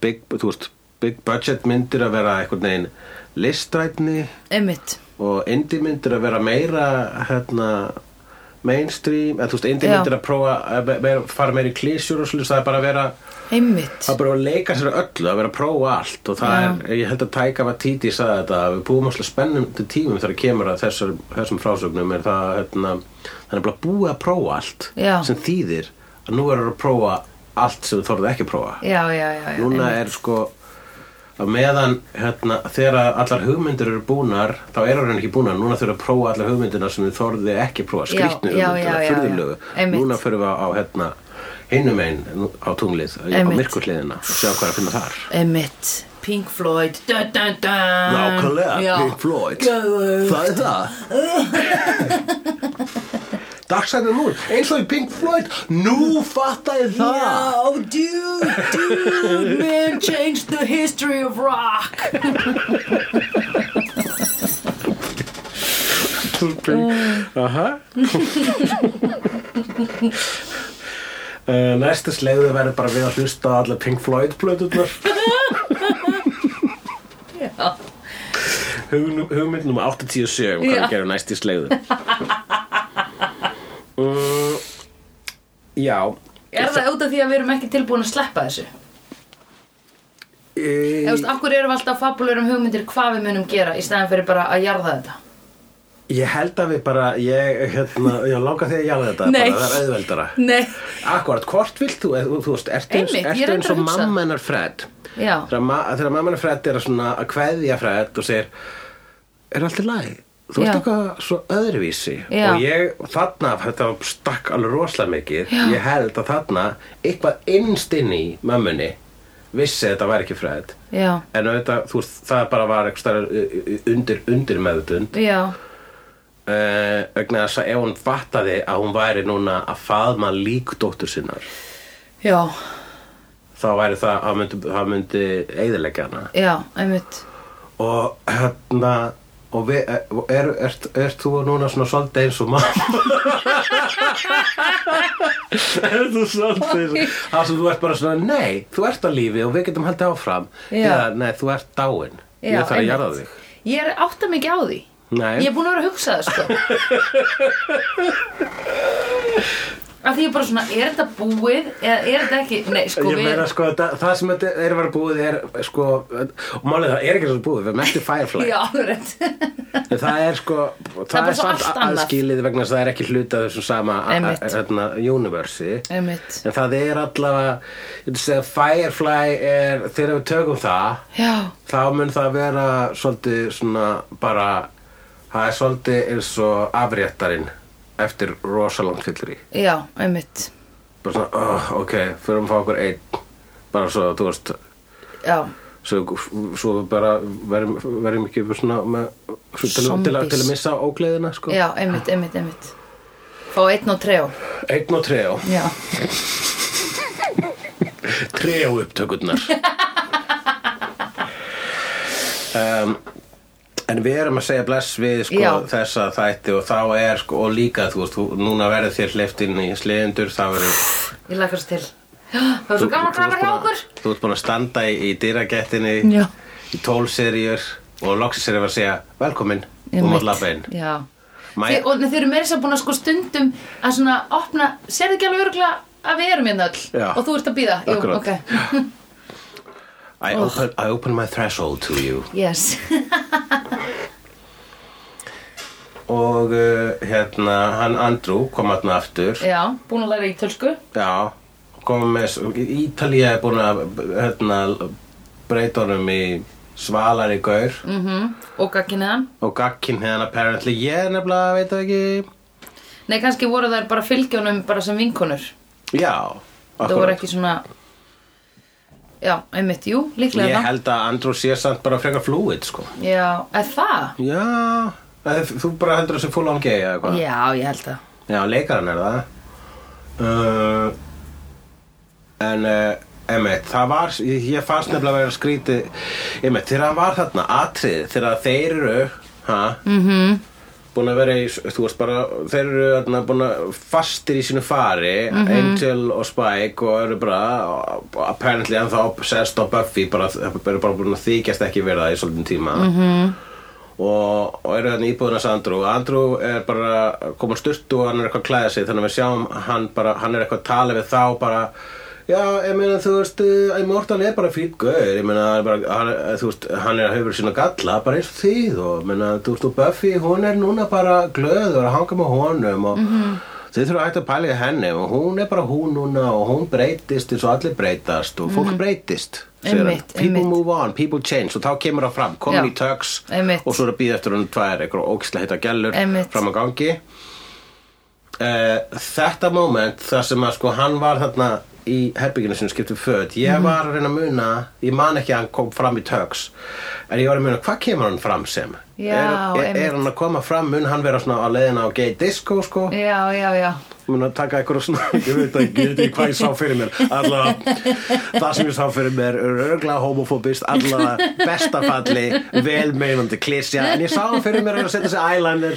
big, þú veist, big budget myndir að vera einhvern veginn listrætni Einmitt og indie myndir að vera meira hérna, mainstream, eða þú veist, indie Já. myndir að prófa að be- meira- fara meira í klísjur og svolítið, það er bara að vera einmitt Það er bara að leika sér að öllu, að vera að prófa allt og það er, ég held að Taika var títi sagði þetta, að við búum alltaf spennandi tímum þegar kemur að þessar, þessum frásögnum er það, hérna, það er bara búið að prófa allt Já. sem þýðir að nú er að prófa allt sem þú þorðið ekki að prófa já, já, já, já núna einmitt. er sko að meðan hérna, þegar allar hugmyndir eru búnar þá eru hann ekki búnar, núna þurfum við að prófa allar hugmyndina sem við þorði ekki að prófa Já, skrýtnu já, já, já, hugmyndina, já. fyrðulegu Einmitt. núna fyrir við á hérna, hinum einn á tunglið, Einmitt. á myrkurliðina og sjá hvað er að finna þar einmitt Pink Floyd dun, dun, dun. Já. uh, Floyd, það er <laughs> það Dagsæðin múl, eins og í Pink Floyd nú fatta ég það Oh, dude, <laughs> dude, man changed the history of rock Ah. Aha Uh, næsta slegðu verður bara við að hlusta á alla Pink Floyd plötunar Já. hugmyndnum 87 um hvað Já. við gerum næst í <laughs> slegðu uh, já Er það út af því að við erum ekki tilbúin að sleppa þessu? e, Þú veist, af hverju erum við alltaf fabulegur um hugmyndir hvað við munum gera í stæðan fyrir bara að jarða þetta? ég held að við bara ég, hérna, ég langa því að jála þetta Nei. bara, það er auðveldara Nei. Akkurat, hvort vilt þú, þú, þú veist, ertu eins, Einmitt, ég ertu reyndar eins og að hugsa. mamma hennar Fred Já. þegar, ma þegar mamma hennar Fred er að, svona, að kveðja Fred og segir er allt í lagi, þú Já. veist eitthvað svo öðruvísi Já. og ég þarna, þetta stakk alveg rosalega mikið Já. ég held að þarna eitthvað innst inn í mömmunni vissi að þetta væri ekki Fred já, en auðvitað, þú veist, það bara var einhvers staðar undir, undir meðutund já, uh, vegna þess að ef hún fattaði að hún væri núna að faðma líkdóttur sinnar já, þá væri það að myndi, það myndi eigðilegja hana já, einmitt og hérna og við, er, ert, ert þú núna svona svolítið eins og mamma <laughs> er þú svolítið eins og það sem þú ert bara svona nei, þú ert á lífi og við getum haldið áfram Já. Eða, nei, þú ert dáin Já, ég þarf að einmitt. jarða þig Ég er átt að mikið á því nei, Ég er búin að vera að hugsa það, sko. Af því ég er bara svona, er þetta búið eða er þetta ekki? Nei, sko, ég meina sko það, það sem þetta er að vera búið er sko, og málið það er ekki svo búið við erum eftir Firefly Já, alveg. En það er sko, það, er bara er svo samt allt annað. aðskilið vegna þess að það er ekki hluti af þessum sama a- a- Einmitt. hérna, universi. einmitt, En það er allavega, ég vil segja, Firefly er, þegar við tökum það, já, þá mun það vera svolítið svona bara, það er svolítið eins og afréttarinn eftir rosalangt fyllir í. já, einmitt Bara svona, oh, ok, fyrir að fá okkur einn, bara svo, þú veist, já, svo, svo við bara verðum, verðum ekki svona með, svo til, til, að, Zombies. til að missa ógleðina, sko. já, einmitt, einmitt, einmitt Fá einn og trejó Einn og trejó Já, Trejó upptökurnar um, En við erum að segja bless við sko, Já. þessa þætti og þá er sko, og líka þú veist, þú- núna verður þér hleyft inn í sliðendur þá verður Ég lakast til. Það var svo gaman að þú ert græma hjá búin að- okkur. Þú ert búin að standa í, í dyragættinni Já. í tólserjur og loksins er að vera að segja velkomin og einmitt. mátt labba inn Já Mæ- Þið, og nei, þið eru meira sem búin að sko stundum að svona opna, serðu ekki alveg örgulega að við erum hérna öll Já. og þú ert að býða Jú, Akkurat. ok, I open, I open my threshold to you Yes og uh, hérna hann Andrew kom aðna aftur já, búin að læra í tölsku Já, komum með Ítalía er búin að hérna, breyta honum í svalari gaur mm og gagginniðan og gagkin hérna apparently ég er nefnilega veit það ekki Nei, kannski voru þær bara fylgjónum bara sem vinkonur Já, Það voru ekki svona Já, einmitt, jú, líklega Ég þá. held að Andrew sé samt bara frekar fluid sko Já, er það? Já, eða þið- þú bara heldur þessi full on gay eða hvað Já, ég held það Já, leikarinn er það uh, En uh, einmitt, það var ég, ég fannst nefnilega að vera skrítið einmitt, þegar hann var þarna, atrið þegar þeir eru ha, mm -hmm. búin að vera í þú veist bara, þeir eru þarna búin að fastir í sínu fari Angel og Spike og eru bara apparently ennþá sest á Buffy bara, eru bara búin að þykjast ekki vera það í svolítinn tíma mm -hmm. og, og eru þarna íbúðin hans Andrew Andrew er bara að koma sturt og hann er eitthvað að klæða sig þannig að við sjáum hann bara, hann er eitthvað að tala við þá bara já, ég meina þú veist eh, Immortal er bara fýtt gaur ég meina hann er bara, hann, eh, þú veist, hann er að hefur sína galla bara eins og þið og meina, þú veist, og Buffy, hún er núna bara glöð og er að hanga með honum og Mhm. Þið þurfum að hægt að pæla í henni og hún er bara hún núna og hún breytist eins og allir breytast og fólk breytist segir hann. Mhm. Einmitt, People einmitt. move on, people change og þá kemur það fram, komin Já. í tögs Einmitt. og svo er að býða eftir hún tvær eitthvað ógislega heita gælur Einmitt. fram að gangi uh, Þetta moment þar sem að sko hann var þarna í herbygginu sem skipti föt ég Mhm. var að reyna að muna, ég man ekki að hann kom fram í tögs en ég var að muna hvað kemur hann fram sem Já, er, er, einmitt. er hann að koma fram, mun hann vera svona að leiðina á gay disco sko Já, já, já. mun að taka eitthvað svona <laughs> ég veit ekki, ég veit ekki hvað ég sá fyrir mér allavega, það sem ég sá fyrir mér er örgla homofóbist, allavega bestafalli, velmeinandi klísja, en ég sá hann fyrir mér að setja sér eyeliner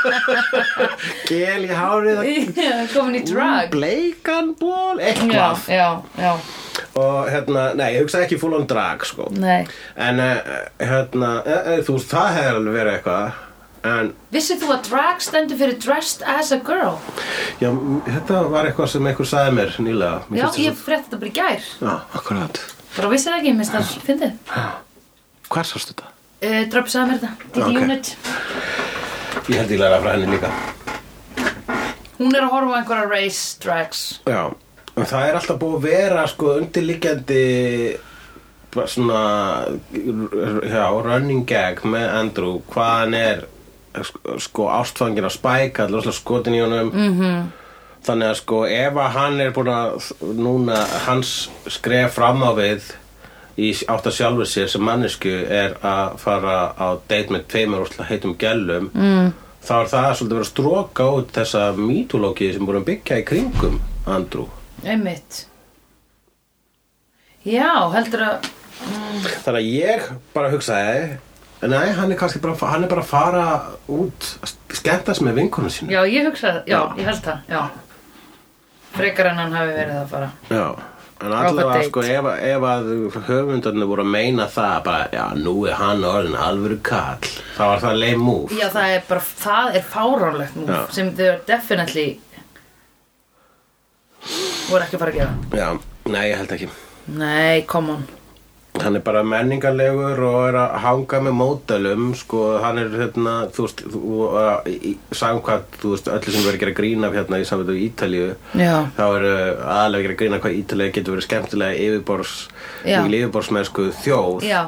<laughs> gel í hárið <laughs> Komin í drag. bleikan ból, Já, eitthvað já, já. og hérna, nei, ég hugsaði ekki full on drag sko, Nei. en uh, hérna, uh, uh, þú veist, það hefði alveg verið eitthvað en Vissið þú að drag stendur fyrir dressed as a girl? já, m- þetta var eitthvað sem einhver sagði mér nýlega Mér Já, finnst ég þetta svo- frétti þetta bara í gær. Já, akkurat Bara vissið það ekki, minnst það fyndið. Hvar sástu þetta? Uh, Drop sagði mér þetta. Didi Ok. Unit. Ég held ég læra frá henni líka Hún er að horfa á einhverja race drags. Já, en það er alltaf búið að vera sko undirliggjandi bara svona já, running gag með Andrew hvað hann er sk- sko ástfangin að spæka alltaf skotin í honum -hmm. þannig að sko ef að hann er búin að núna hans skref fram á við í átt að sjálfu sér sem mannesku er að fara á date með tveimur og heitum gælum mm. þá er það svolítið verið að stróka út þessa mítulókið sem búin að byggja í kringum Andrew. Einmitt. Já, heldur að... Þannig að ég bara hugsaði nei, hann er kannski bara, hann er bara að fara út að skemmtast með vinkunum sínu Já, ég hugsa það. Já, Já. ég held það. Já. Frekar en hann hafi verið að fara. Já, en Á allavega date. sko ef, ef að höfundarnir voru að meina það bara, já, nú er hann orðin alvöru kall, þá var það leið múf Já, það er bara, það er fáránlegt nú Já. sem þau eru definitely voru ekki að fara að gera. Já, nei, ég held ekki Nei, come on. hann er bara menningarlegur og er að hanga með mótelum sko, hann er hérna þú veist, þú, uh, í- samkvæmt þú veist, öllu sem verður að gera grín af hérna í samvættu í Ítalíu Já. þá er aðlega að gera grín af hvað Ítalíu getur verið skemmtilega yfirborðs Já. mikil yfirborðsmennsku þjóð Já.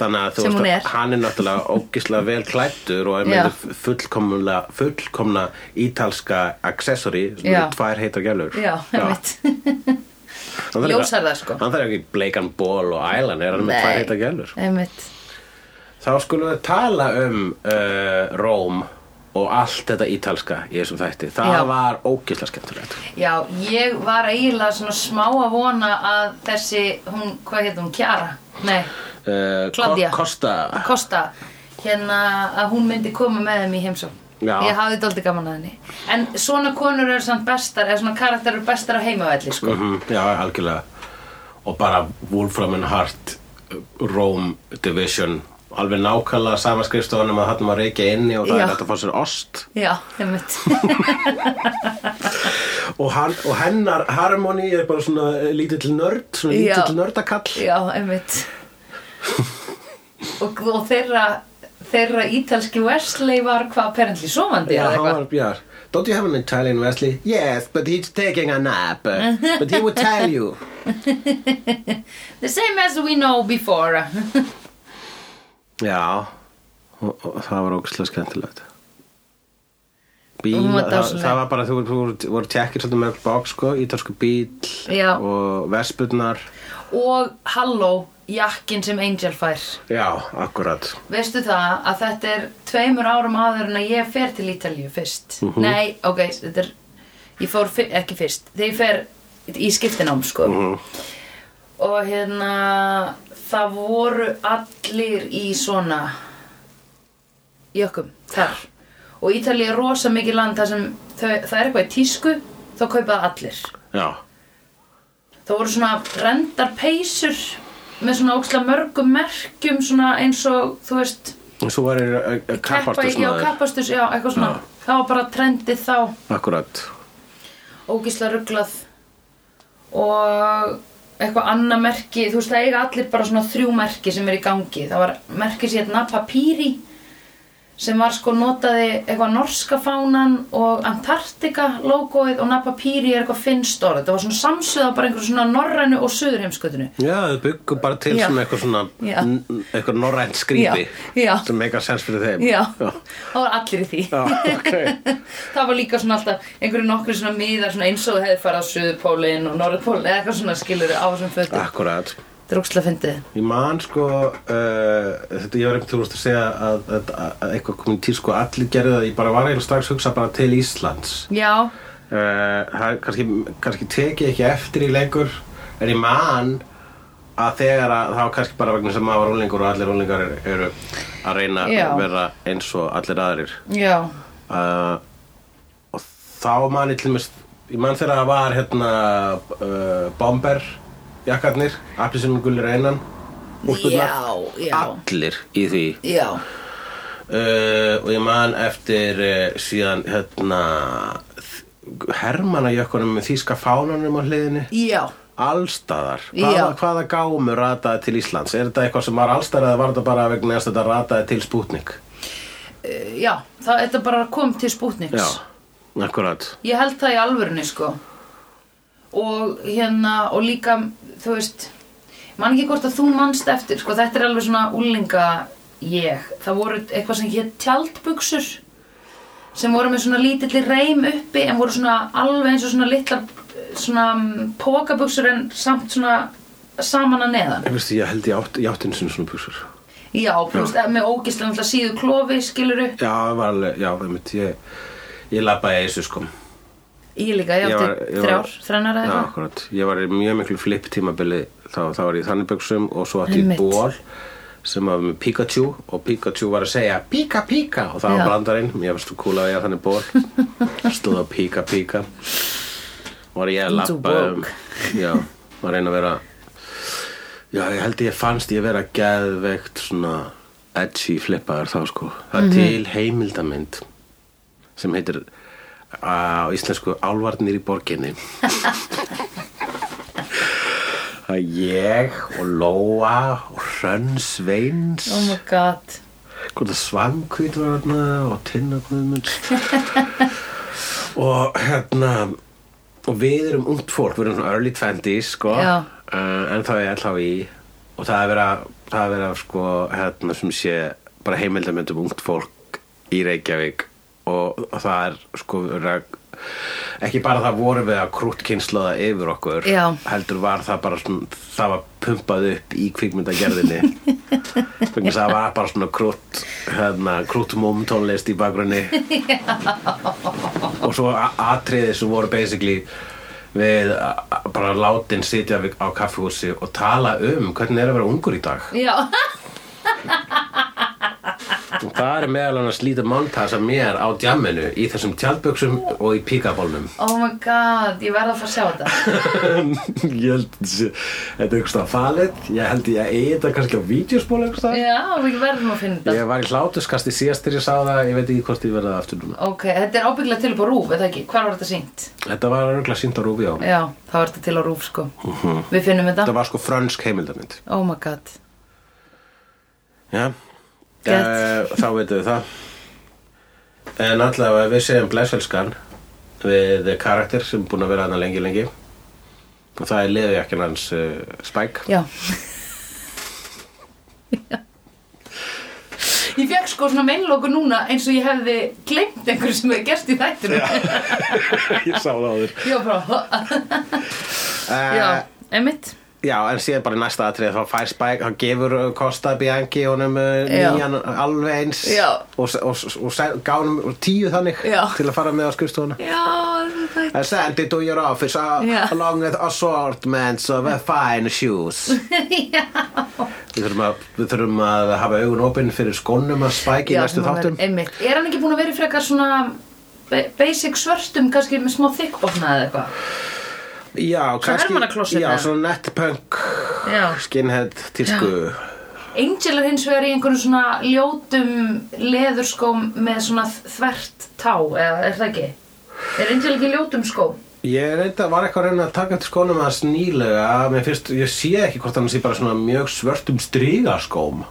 þannig að þú Sem hún er. veist, hann er náttúrulega ógislega vel klættur og er Já. með þetta fullkomna, fullkomna ítalska accessory sem Já. eru tvær heitar gælur Já, einmitt. Hann þarf ekki- Ljósar það, sko. hann þarf ekki bleikan ból og ælan er hann með tvær heitar gælur Einmitt. Þá skulum við tala um uh, Róm og allt þetta ítalska í þessum þætti. Það Já. var ógislega skemmtilegt. Já, ég var eiginlega svona smá að vona að þessi, hún, hvað hétt hún, Kjara? Nei, Uh, Claudia. Kosta. Kosta, hérna að hún myndi koma með þeim í heimsókn. Já. Ég hafði dóldi gaman að henni. En svona konur eru samt bestar, eða svona karakter eru bestar á heimavelli, sko. Mm já, algjörlega. Og bara Wolfram and Hart, Rome Division. Alveg nákvæmlega sama skrifstofunum að hann var reykja inni og það Já. er þetta að fá sér ost. Já, einmitt. <laughs> Og, hann, og hennar Harmony er bara svona eh, lítill nörd, svona Já. lítill nördakall. Já, <laughs> einmitt. og, og þeirra, þeirra ítalski Wesley var hvað apparently sofandi Já, eða hann eitthvað. var, já. Don't you have an Italian Wesley? Yes, but he's taking a <laughs> nap. But he would tell you. The same as we know before. <laughs> Já, og, og það var ógustlega skemmtilegt Bíla, Hún var það, dásamleg. það var bara, þú voru, voru, voru tekkir svolítið með bók, sko, ítalsku bíl Já. og vespurnar og Halló, jakkin sem Angel fær Já, akkurat veistu það að þetta er tveimur árum áður en að ég fer til Ítalíu fyrst nei, ok, þetta er ég fór fyr, ekki fyrst, þegar ég fer í skiptinám sko og hérna það voru allir í svona jökum þar og Ítalíu er rosa mikið land þar sem þau, það er eitthvað í tísku þá kaupaði allir Já, Það voru svona rendar peysur með svona ókslega mörgum merkjum svona eins og þú veist Svo var ég eh, já, kappartusmaður kappastus, já, eitthvað svona það var bara trendið þá Akkurat ógísla rugglað og eitthvað annað merki, þú veist það eiga allir bara svona þrjú merki sem er í gangi það var merki sér hérna papíri sem var sko notaði eitthvað norska fánan og Antartika logoið og Napapíri er eitthvað finnst orð þetta var svona samsöða bara einhverju svona norrænu og suðurheimskutinu Já, þau byggum bara til Já. svona eitthvað svona Já. n- eitthvað norrænt skrýpi Já. Já. sem meikar sens fyrir þeim já, Já, það var allir í því Já, ok <laughs> það var líka svona alltaf einhverju nokkri svona miðar svona eins og þau hefði farið á suðupólinn og norðupólinn eða eitthvað svona skilur á þessum Ah. fötum Akkurat drókslega fyndið Ég man sko uh, þetta ég var einhvern veginn að segja að, að, að eitthvað komin tíð sko allir gerði það ég bara var eiginlega strax hugsa bara til Íslands já, Eh, það er kannski, kannski tekið ekki eftir í lengur en ég man að þegar að það var kannski bara vegna sem maður var rúlingur og allir rúlingar eru, eru að reyna Já. að vera eins og allir aðrir já uh, og þá man ég til mér ég man þegar það var hérna uh, bomber jakkarnir, allir sem gullir einan Já, já, allir í því já, uh, og ég man eftir uh, síðan hérna hermanajökkunum með þýska fánanum á hliðinni já, allstaðar, hvaða, Já. hvaða gámur rataði til Íslands, er þetta eitthvað sem var allstaðar eða var þetta bara vegna þess að þetta rataði til Sputnik Eh, já, það, þetta bara kom til Sputniks. já, akkurat Ég held það í alvörunni, sko. Og hérna, og líka, þú veist, man ekki hvort að þú manst eftir, sko, þetta er alveg svona úlinga ég. Það voru eitthvað sem hétt tjaldbuxur sem voru með svona lítilli reym uppi en voru svona alveg eins og svona litlar svona mm, pokabuxur en samt svona saman að neðan. ég veist ég held ég átt, ég átt einu sinni svona buksur Já, plúst, með ógislega náttúrulega síðu klofi, skiluru. já, það var alveg, já, það mitt ég ég labbaði í þessu sko Ég líka, ég Ég var- átti ég var- þrjár, þrennar eða Já, eitthvað. akkurat. Ég var í mjög miklu flip tímabili þá, þá var ég í þannig buksum og svo átti Einmitt. ég ból sem var með Pikachu og Pikachu var að segja Pika Pika og það Já. var brandarinn, mér finnst þú kúla að ég að <laughs> þannig ból stóð á Pika Pika var ég að Þú labba um bók. já, var að reyna að vera já, ég held ég fannst ég vera geðveikt svona edgy flippaður þá sko það Mhm. er til heimildamynd sem heitir á íslensku Álvarnir í borginni að ég og Lóa og Hrönn Sveins Oh my god. hvort að svangkvít var hérna og tinna guðmunds og hérna og við erum ungt fólk, við erum svona early 20s sko, Já. uh, en þá er alltaf í og það er verið að það er verið að sko, hérna sem sé bara heimildamöndum ungt fólk í Reykjavík og, og það er sko verið að- ekki bara það voru við að krúttkynslaða yfir okkur Já. heldur var það bara svona, það var pumpað upp í kvikmyndagerðinni Þannig að það var bara svona krútt hérna, krúttmum tónlist í bakgrunni og svo a- atriði sem voru basically við a- a- bara látin sitja við- á kaffihúsi og tala um hvernig er að vera ungur í dag <laughs> Já, og það er meðal annars lítið montas af mér á djamminu í þessum tjaldböksum og í píkabólnum oh my god, ég verð að fara að sjá <laughs> þetta. ég held þetta sé- þetta er einhverstað falið ég held ég að eigi þetta kannski á vídeospól einhverstað Já, við verðum að finna þetta. ég var í hlátuskasti síðast þegar ég sá það ég veit ekki hvort ég verði það aftur núna Ok, þetta er ábyggilega til upp á rúf, eða ekki? Hvar var þetta sínt? Þetta var örgulega sínt á Rúfi á. Já, það var þetta til á rúf, sko. Við finnum Mhm. Þetta þetta. var sko frönsk heimildamind. Oh my god. Já. Gett. Eh, þá veitum við það. En allavega við segjum blesselskan við karakter sem er búin að vera hana lengi lengi. Og það er leðujakkin hans uh, Spike. Já. Ég fekk sko svona meinlóku núna eins og ég hefði gleymt einhverju sem hefði gerst í þættinu. <laughs> Já, <laughs> ég sá það á þér. bara, Eh. já, emitt. Já, en síðan bara í næsta atrið þá fær Spike, þá gefur uh, Costa Bianchi honum uh, Já. nýjan alveg eins Já. og, s- og, s- og, og gánum tíu þannig Já. til að fara með á skrifstofuna. Já, þetta er I sent it to your office uh, Yeah. along with assortments of uh, fine <laughs> shoes. við, þurfum að, við þurfum að hafa augun opinn fyrir skónum að spæki í Já, næstu sem hann þáttum. verður- einmitt. Er hann ekki búin að vera í frekar svona ba- basic svörtum, kannski með smá thickbotna eða eitthvað? Já, kannski, hermannaklossið já, með. svona netpunk, Já. skinhead, tísku, Angel er hins vegar í einhverjum svona ljótum leðurskóm með svona þvert tá, eða er það ekki? Er Angel ekki í ljótum skóm? Ég reynda, var eitthvað að reyna að taka til skónum hans nýlega, mér finnst, ég sé ekki hvort hann sé bara svona mjög svörtum strígaskóm.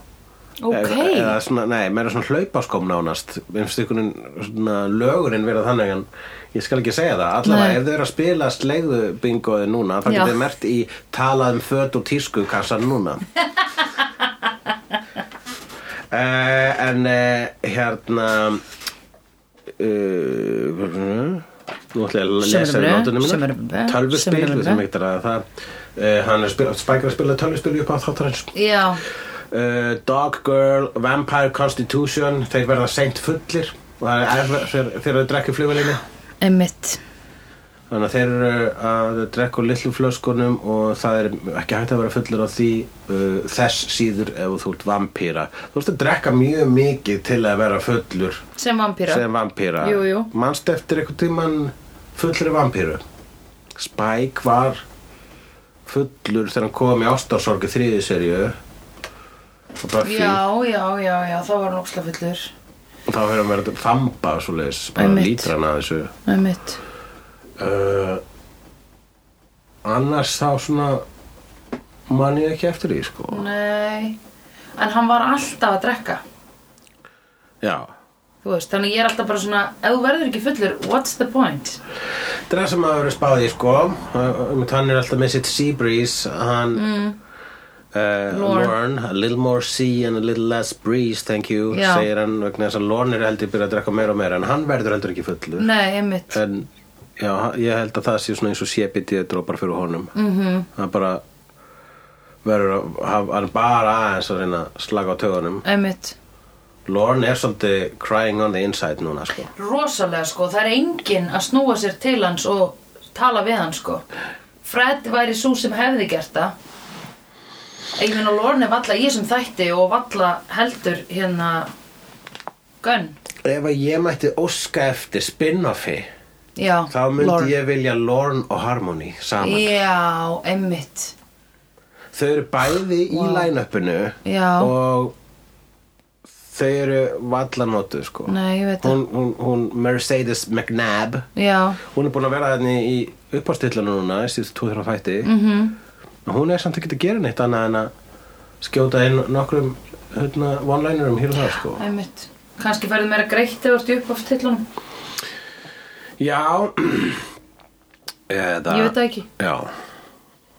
Ok, Eða, eða svona, nei, meira svona hlaupaskóm nánast. Mér finnst einhvern veginn svona lögurinn vera þannig en ég skal ekki segja það. Nei. Allavega, ef þau eru að spila slegðu bingoði núna, það Já. getur mert í talað um föt og tísku kassan <laughs> núna. uh, en uh, hérna... Uh, nú ætla ég að lesa Sumrubru, notunum sumrubru, mína tölvuspil, sumrubru. við sem ekkert að það uh, hann er spil- spækir að spila tölvuspil upp á þáttarins já, uh, Dog Girl, Vampire Constitution þeir verða seint fullir og það er erfið þegar þeir eru að drekka flugvelinni einmitt þannig að þeir eru eh, að drekka úr litlu flöskunum og það er ekki hægt að vera fullur á því uh, þess síður ef þú ert vampíra þú ert að drekka mjög mikið til að vera fullur sem vampíra sem vampíra Jú, jú. manst eftir einhvern tímann fullri vampíru Spike var fullur þegar hann kom í ástarsorgu þriði serju og bara fínt Já, já, já, já, þá var hann óksla fullur og þá hefur hann verið að þamba svo leiðis, bara Einmitt. lítrana að þessu Það er mitt uh, annars þá svona man ég ekki eftir því sko Nei En hann var alltaf að drekka já, Þú veist, þannig ég er alltaf bara svona Ef þú verður ekki fullur, what's the point? þetta er það sem að vera spáði sko Uh, um, hann er alltaf með sitt sea breeze hann mm. Uh, Lorne. Lorne, a little more sea and a little less breeze, thank you Já. segir hann vegna þess að Lorne er heldur byrjað að drekka meira og meira en hann verður heldur ekki fullur Nei, einmitt en já, ég held að það sé svona eins og sépitið drópar fyrir honum Mhm. -hmm. það bara verður að hafa- hann er bara aðeins að reyna að slaka á tögunum Einmitt Lorne er svolítið crying on the inside núna sko. Rosalega, sko, það er enginn að snúa sér til hans og tala við hann, sko Fred væri sú sem hefði gert það Ég meina, Lorne er valla ég sem þætti og valla heldur hérna Gunn ef að ég mætti óska eftir spin-offi Já, þá myndi Lorne. ég vilja Lorne og Harmony saman Já, einmitt þau eru bæði í line-upinu Já. og þau eru valla notuð sko. Nei, ég veit það. hún, hún, hún Mercedes McNabb Já, hún er búin að vera þarna í uppástillunum núna síðust 2-3 fætti mm Mhm. -hmm. hún er samt ekki að gera neitt annað en að skjóta inn nokkrum hérna, one-linerum hér og það sko. einmitt Kanski færðu meira greitt ef þú ert í uppáftillunum já Eða, Ah. Ég veit það ekki. já.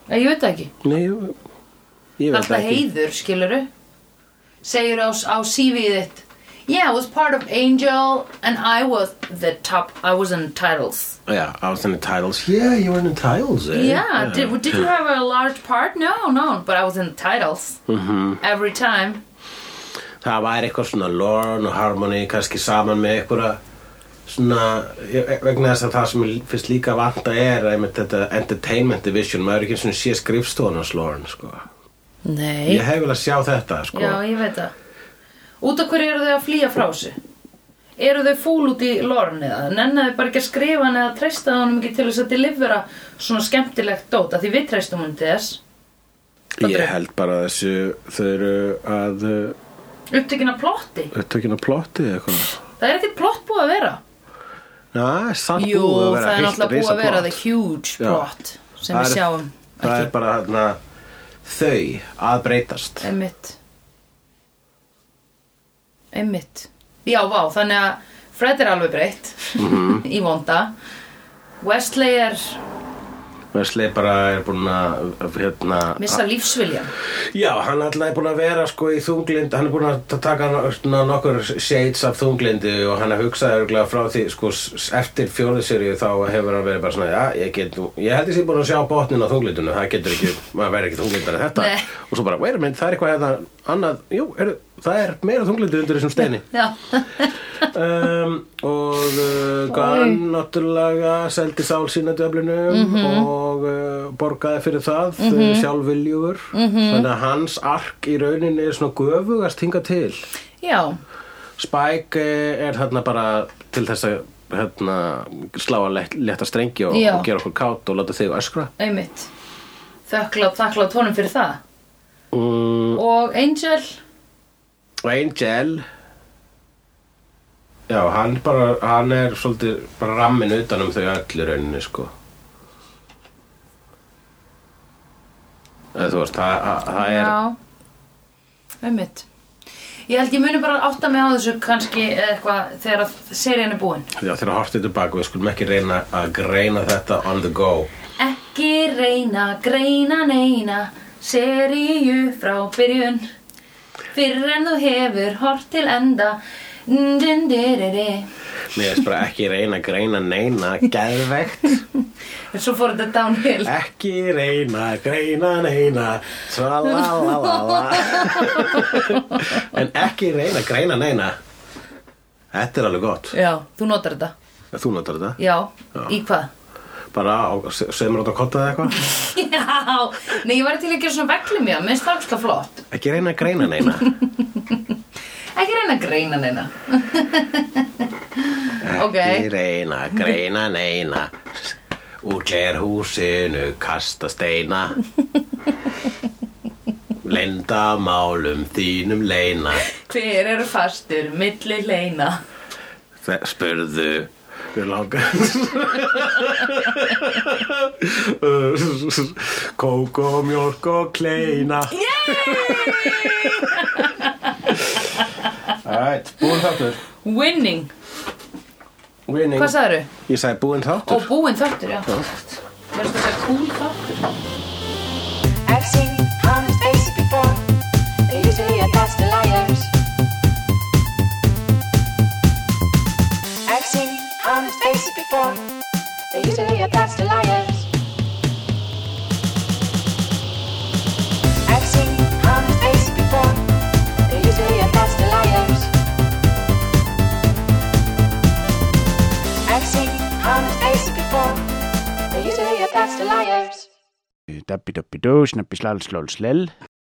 Nei, ég veit það ekki Nei, ég, ég Það er veit það alltaf ekki heiður, skiluru Segir á, á CV-ið þitt Yeah, I was part of Angel and I was the top, I was in titles yeah, I was in the titles yeah, you were in the titles eh? Yeah, did, did you have a large part? No, no, but I was in titles Mm-hmm. Every time það væri eitthvað svona Lorne og Harmony kannski saman með eitthvað svona, ég- vegna þess að það sem ég finnst líka vanta er einmitt þetta entertainment division, maður er ekki svona sé skrifstofan hans Lorne, sko Nei ég hef vel að sjá þetta, sko Já, ég veit það Út af hverju eru þau að flýja frá þessu? Eru þau fúl út í lorn eða? Nenna þau bara ekki að skrifa hann eða treysta honum ekki til þess að delivera svona skemmtilegt dót að því við treystum hann til þess ég held bara að þessu þau eru að eh, upptökin að plotti upptökina plotti eða eitthvað Það er ekkert plott búið að vera Næ, samt Jú, búið að vera það er heilt náttúrulega búið að risaplott. vera the huge Já. plot sem Það við er- sjáum það er ekki bara þarna þau að breytast Einmitt Einmitt Já, vá, þannig að Fred er alveg breytt Mhm. <laughs> í vonda Wesley er Wesley bara er búin að hérna, missa lífsviljan Já, hann alltaf er búin að vera sko í þunglind hann er búin að taka no- svona nokkur shades af þunglindi og hann er hugsað örgulega frá því sko s- eftir fjóðiserju þá hefur hann verið bara svona já, ég get nú, ég held ég sé búin að sjá botnin á þunglindinu, það getur ekki, maður verið ekki þunglindar en þetta, Nei. og svo bara, wait a minute, það er eitthvað hérna annað, jú, er, það er meira þunglindi undir þessum steini Já, um, og uh, Gunn náttúrulega seldi sál sína döflinum og uh, borgaði fyrir það mm -hmm. sjálfviljúur þannig að hans ark í rauninni er svona göfugast hinga til já, Spike eh, er þarna bara til þess að hérna, slá að let, leta strengi og, Já. og gera okkur kátt og láta þig öskra einmitt Þakklátt, þakklátt honum fyrir það mm, og Angel og Angel já, hann bara hann er svolítið bara rammin utan um þau öll í rauninni sko eða þú veist það, það- það er Já, einmitt Ég held ég muni bara átta mig á þessu kannski eða eitthvað þegar að serían er búin já, þegar hortið tilbaka við skulum ekki reyna að greina þetta on the go Ekki reyna, greina, neina seríu frá byrjun Fyrir en þú hefur hort til enda Ndindiriri mér er bara ekki reyna að greina neina geðvegt Svo fór þetta downhill ekki reyna að greina neina svalalalala en ekki reyna að greina neina þetta er alveg gott Já, þú notar þetta Þú notar þetta? Já, Já. í hvað? <laughs> Bara á, se- segðu mér átt að kotta eða eitthvað? Já, nei, ég var til að gera svona veglum já, minnst það ógstlega flott. Ekki reyna að greina neina. Ekki reyna að greina neina. ok, Ekki reyna að greina neina. Úr glerhúsinu kasta steina. Lenda málum þínum leina. hver eru fastur, milli leina? Þe- Spurðu Mér langar Kók og mjólk og kleina Alright, búin þáttur Winning, Winning hvað sagðu? Ég sagði búin þáttur Og búinn þáttur, já. Verður þetta cool þáttur? I've seen honest faces before. They're usually a pass to liars. I've seen honest faces before. They're usually a pass to liars. I've seen honest faces before. They're usually a pass to liars. I've seen honest faces before. They're usually a pass to liars. Dabbi dabbi dó, snabbi slal slól slell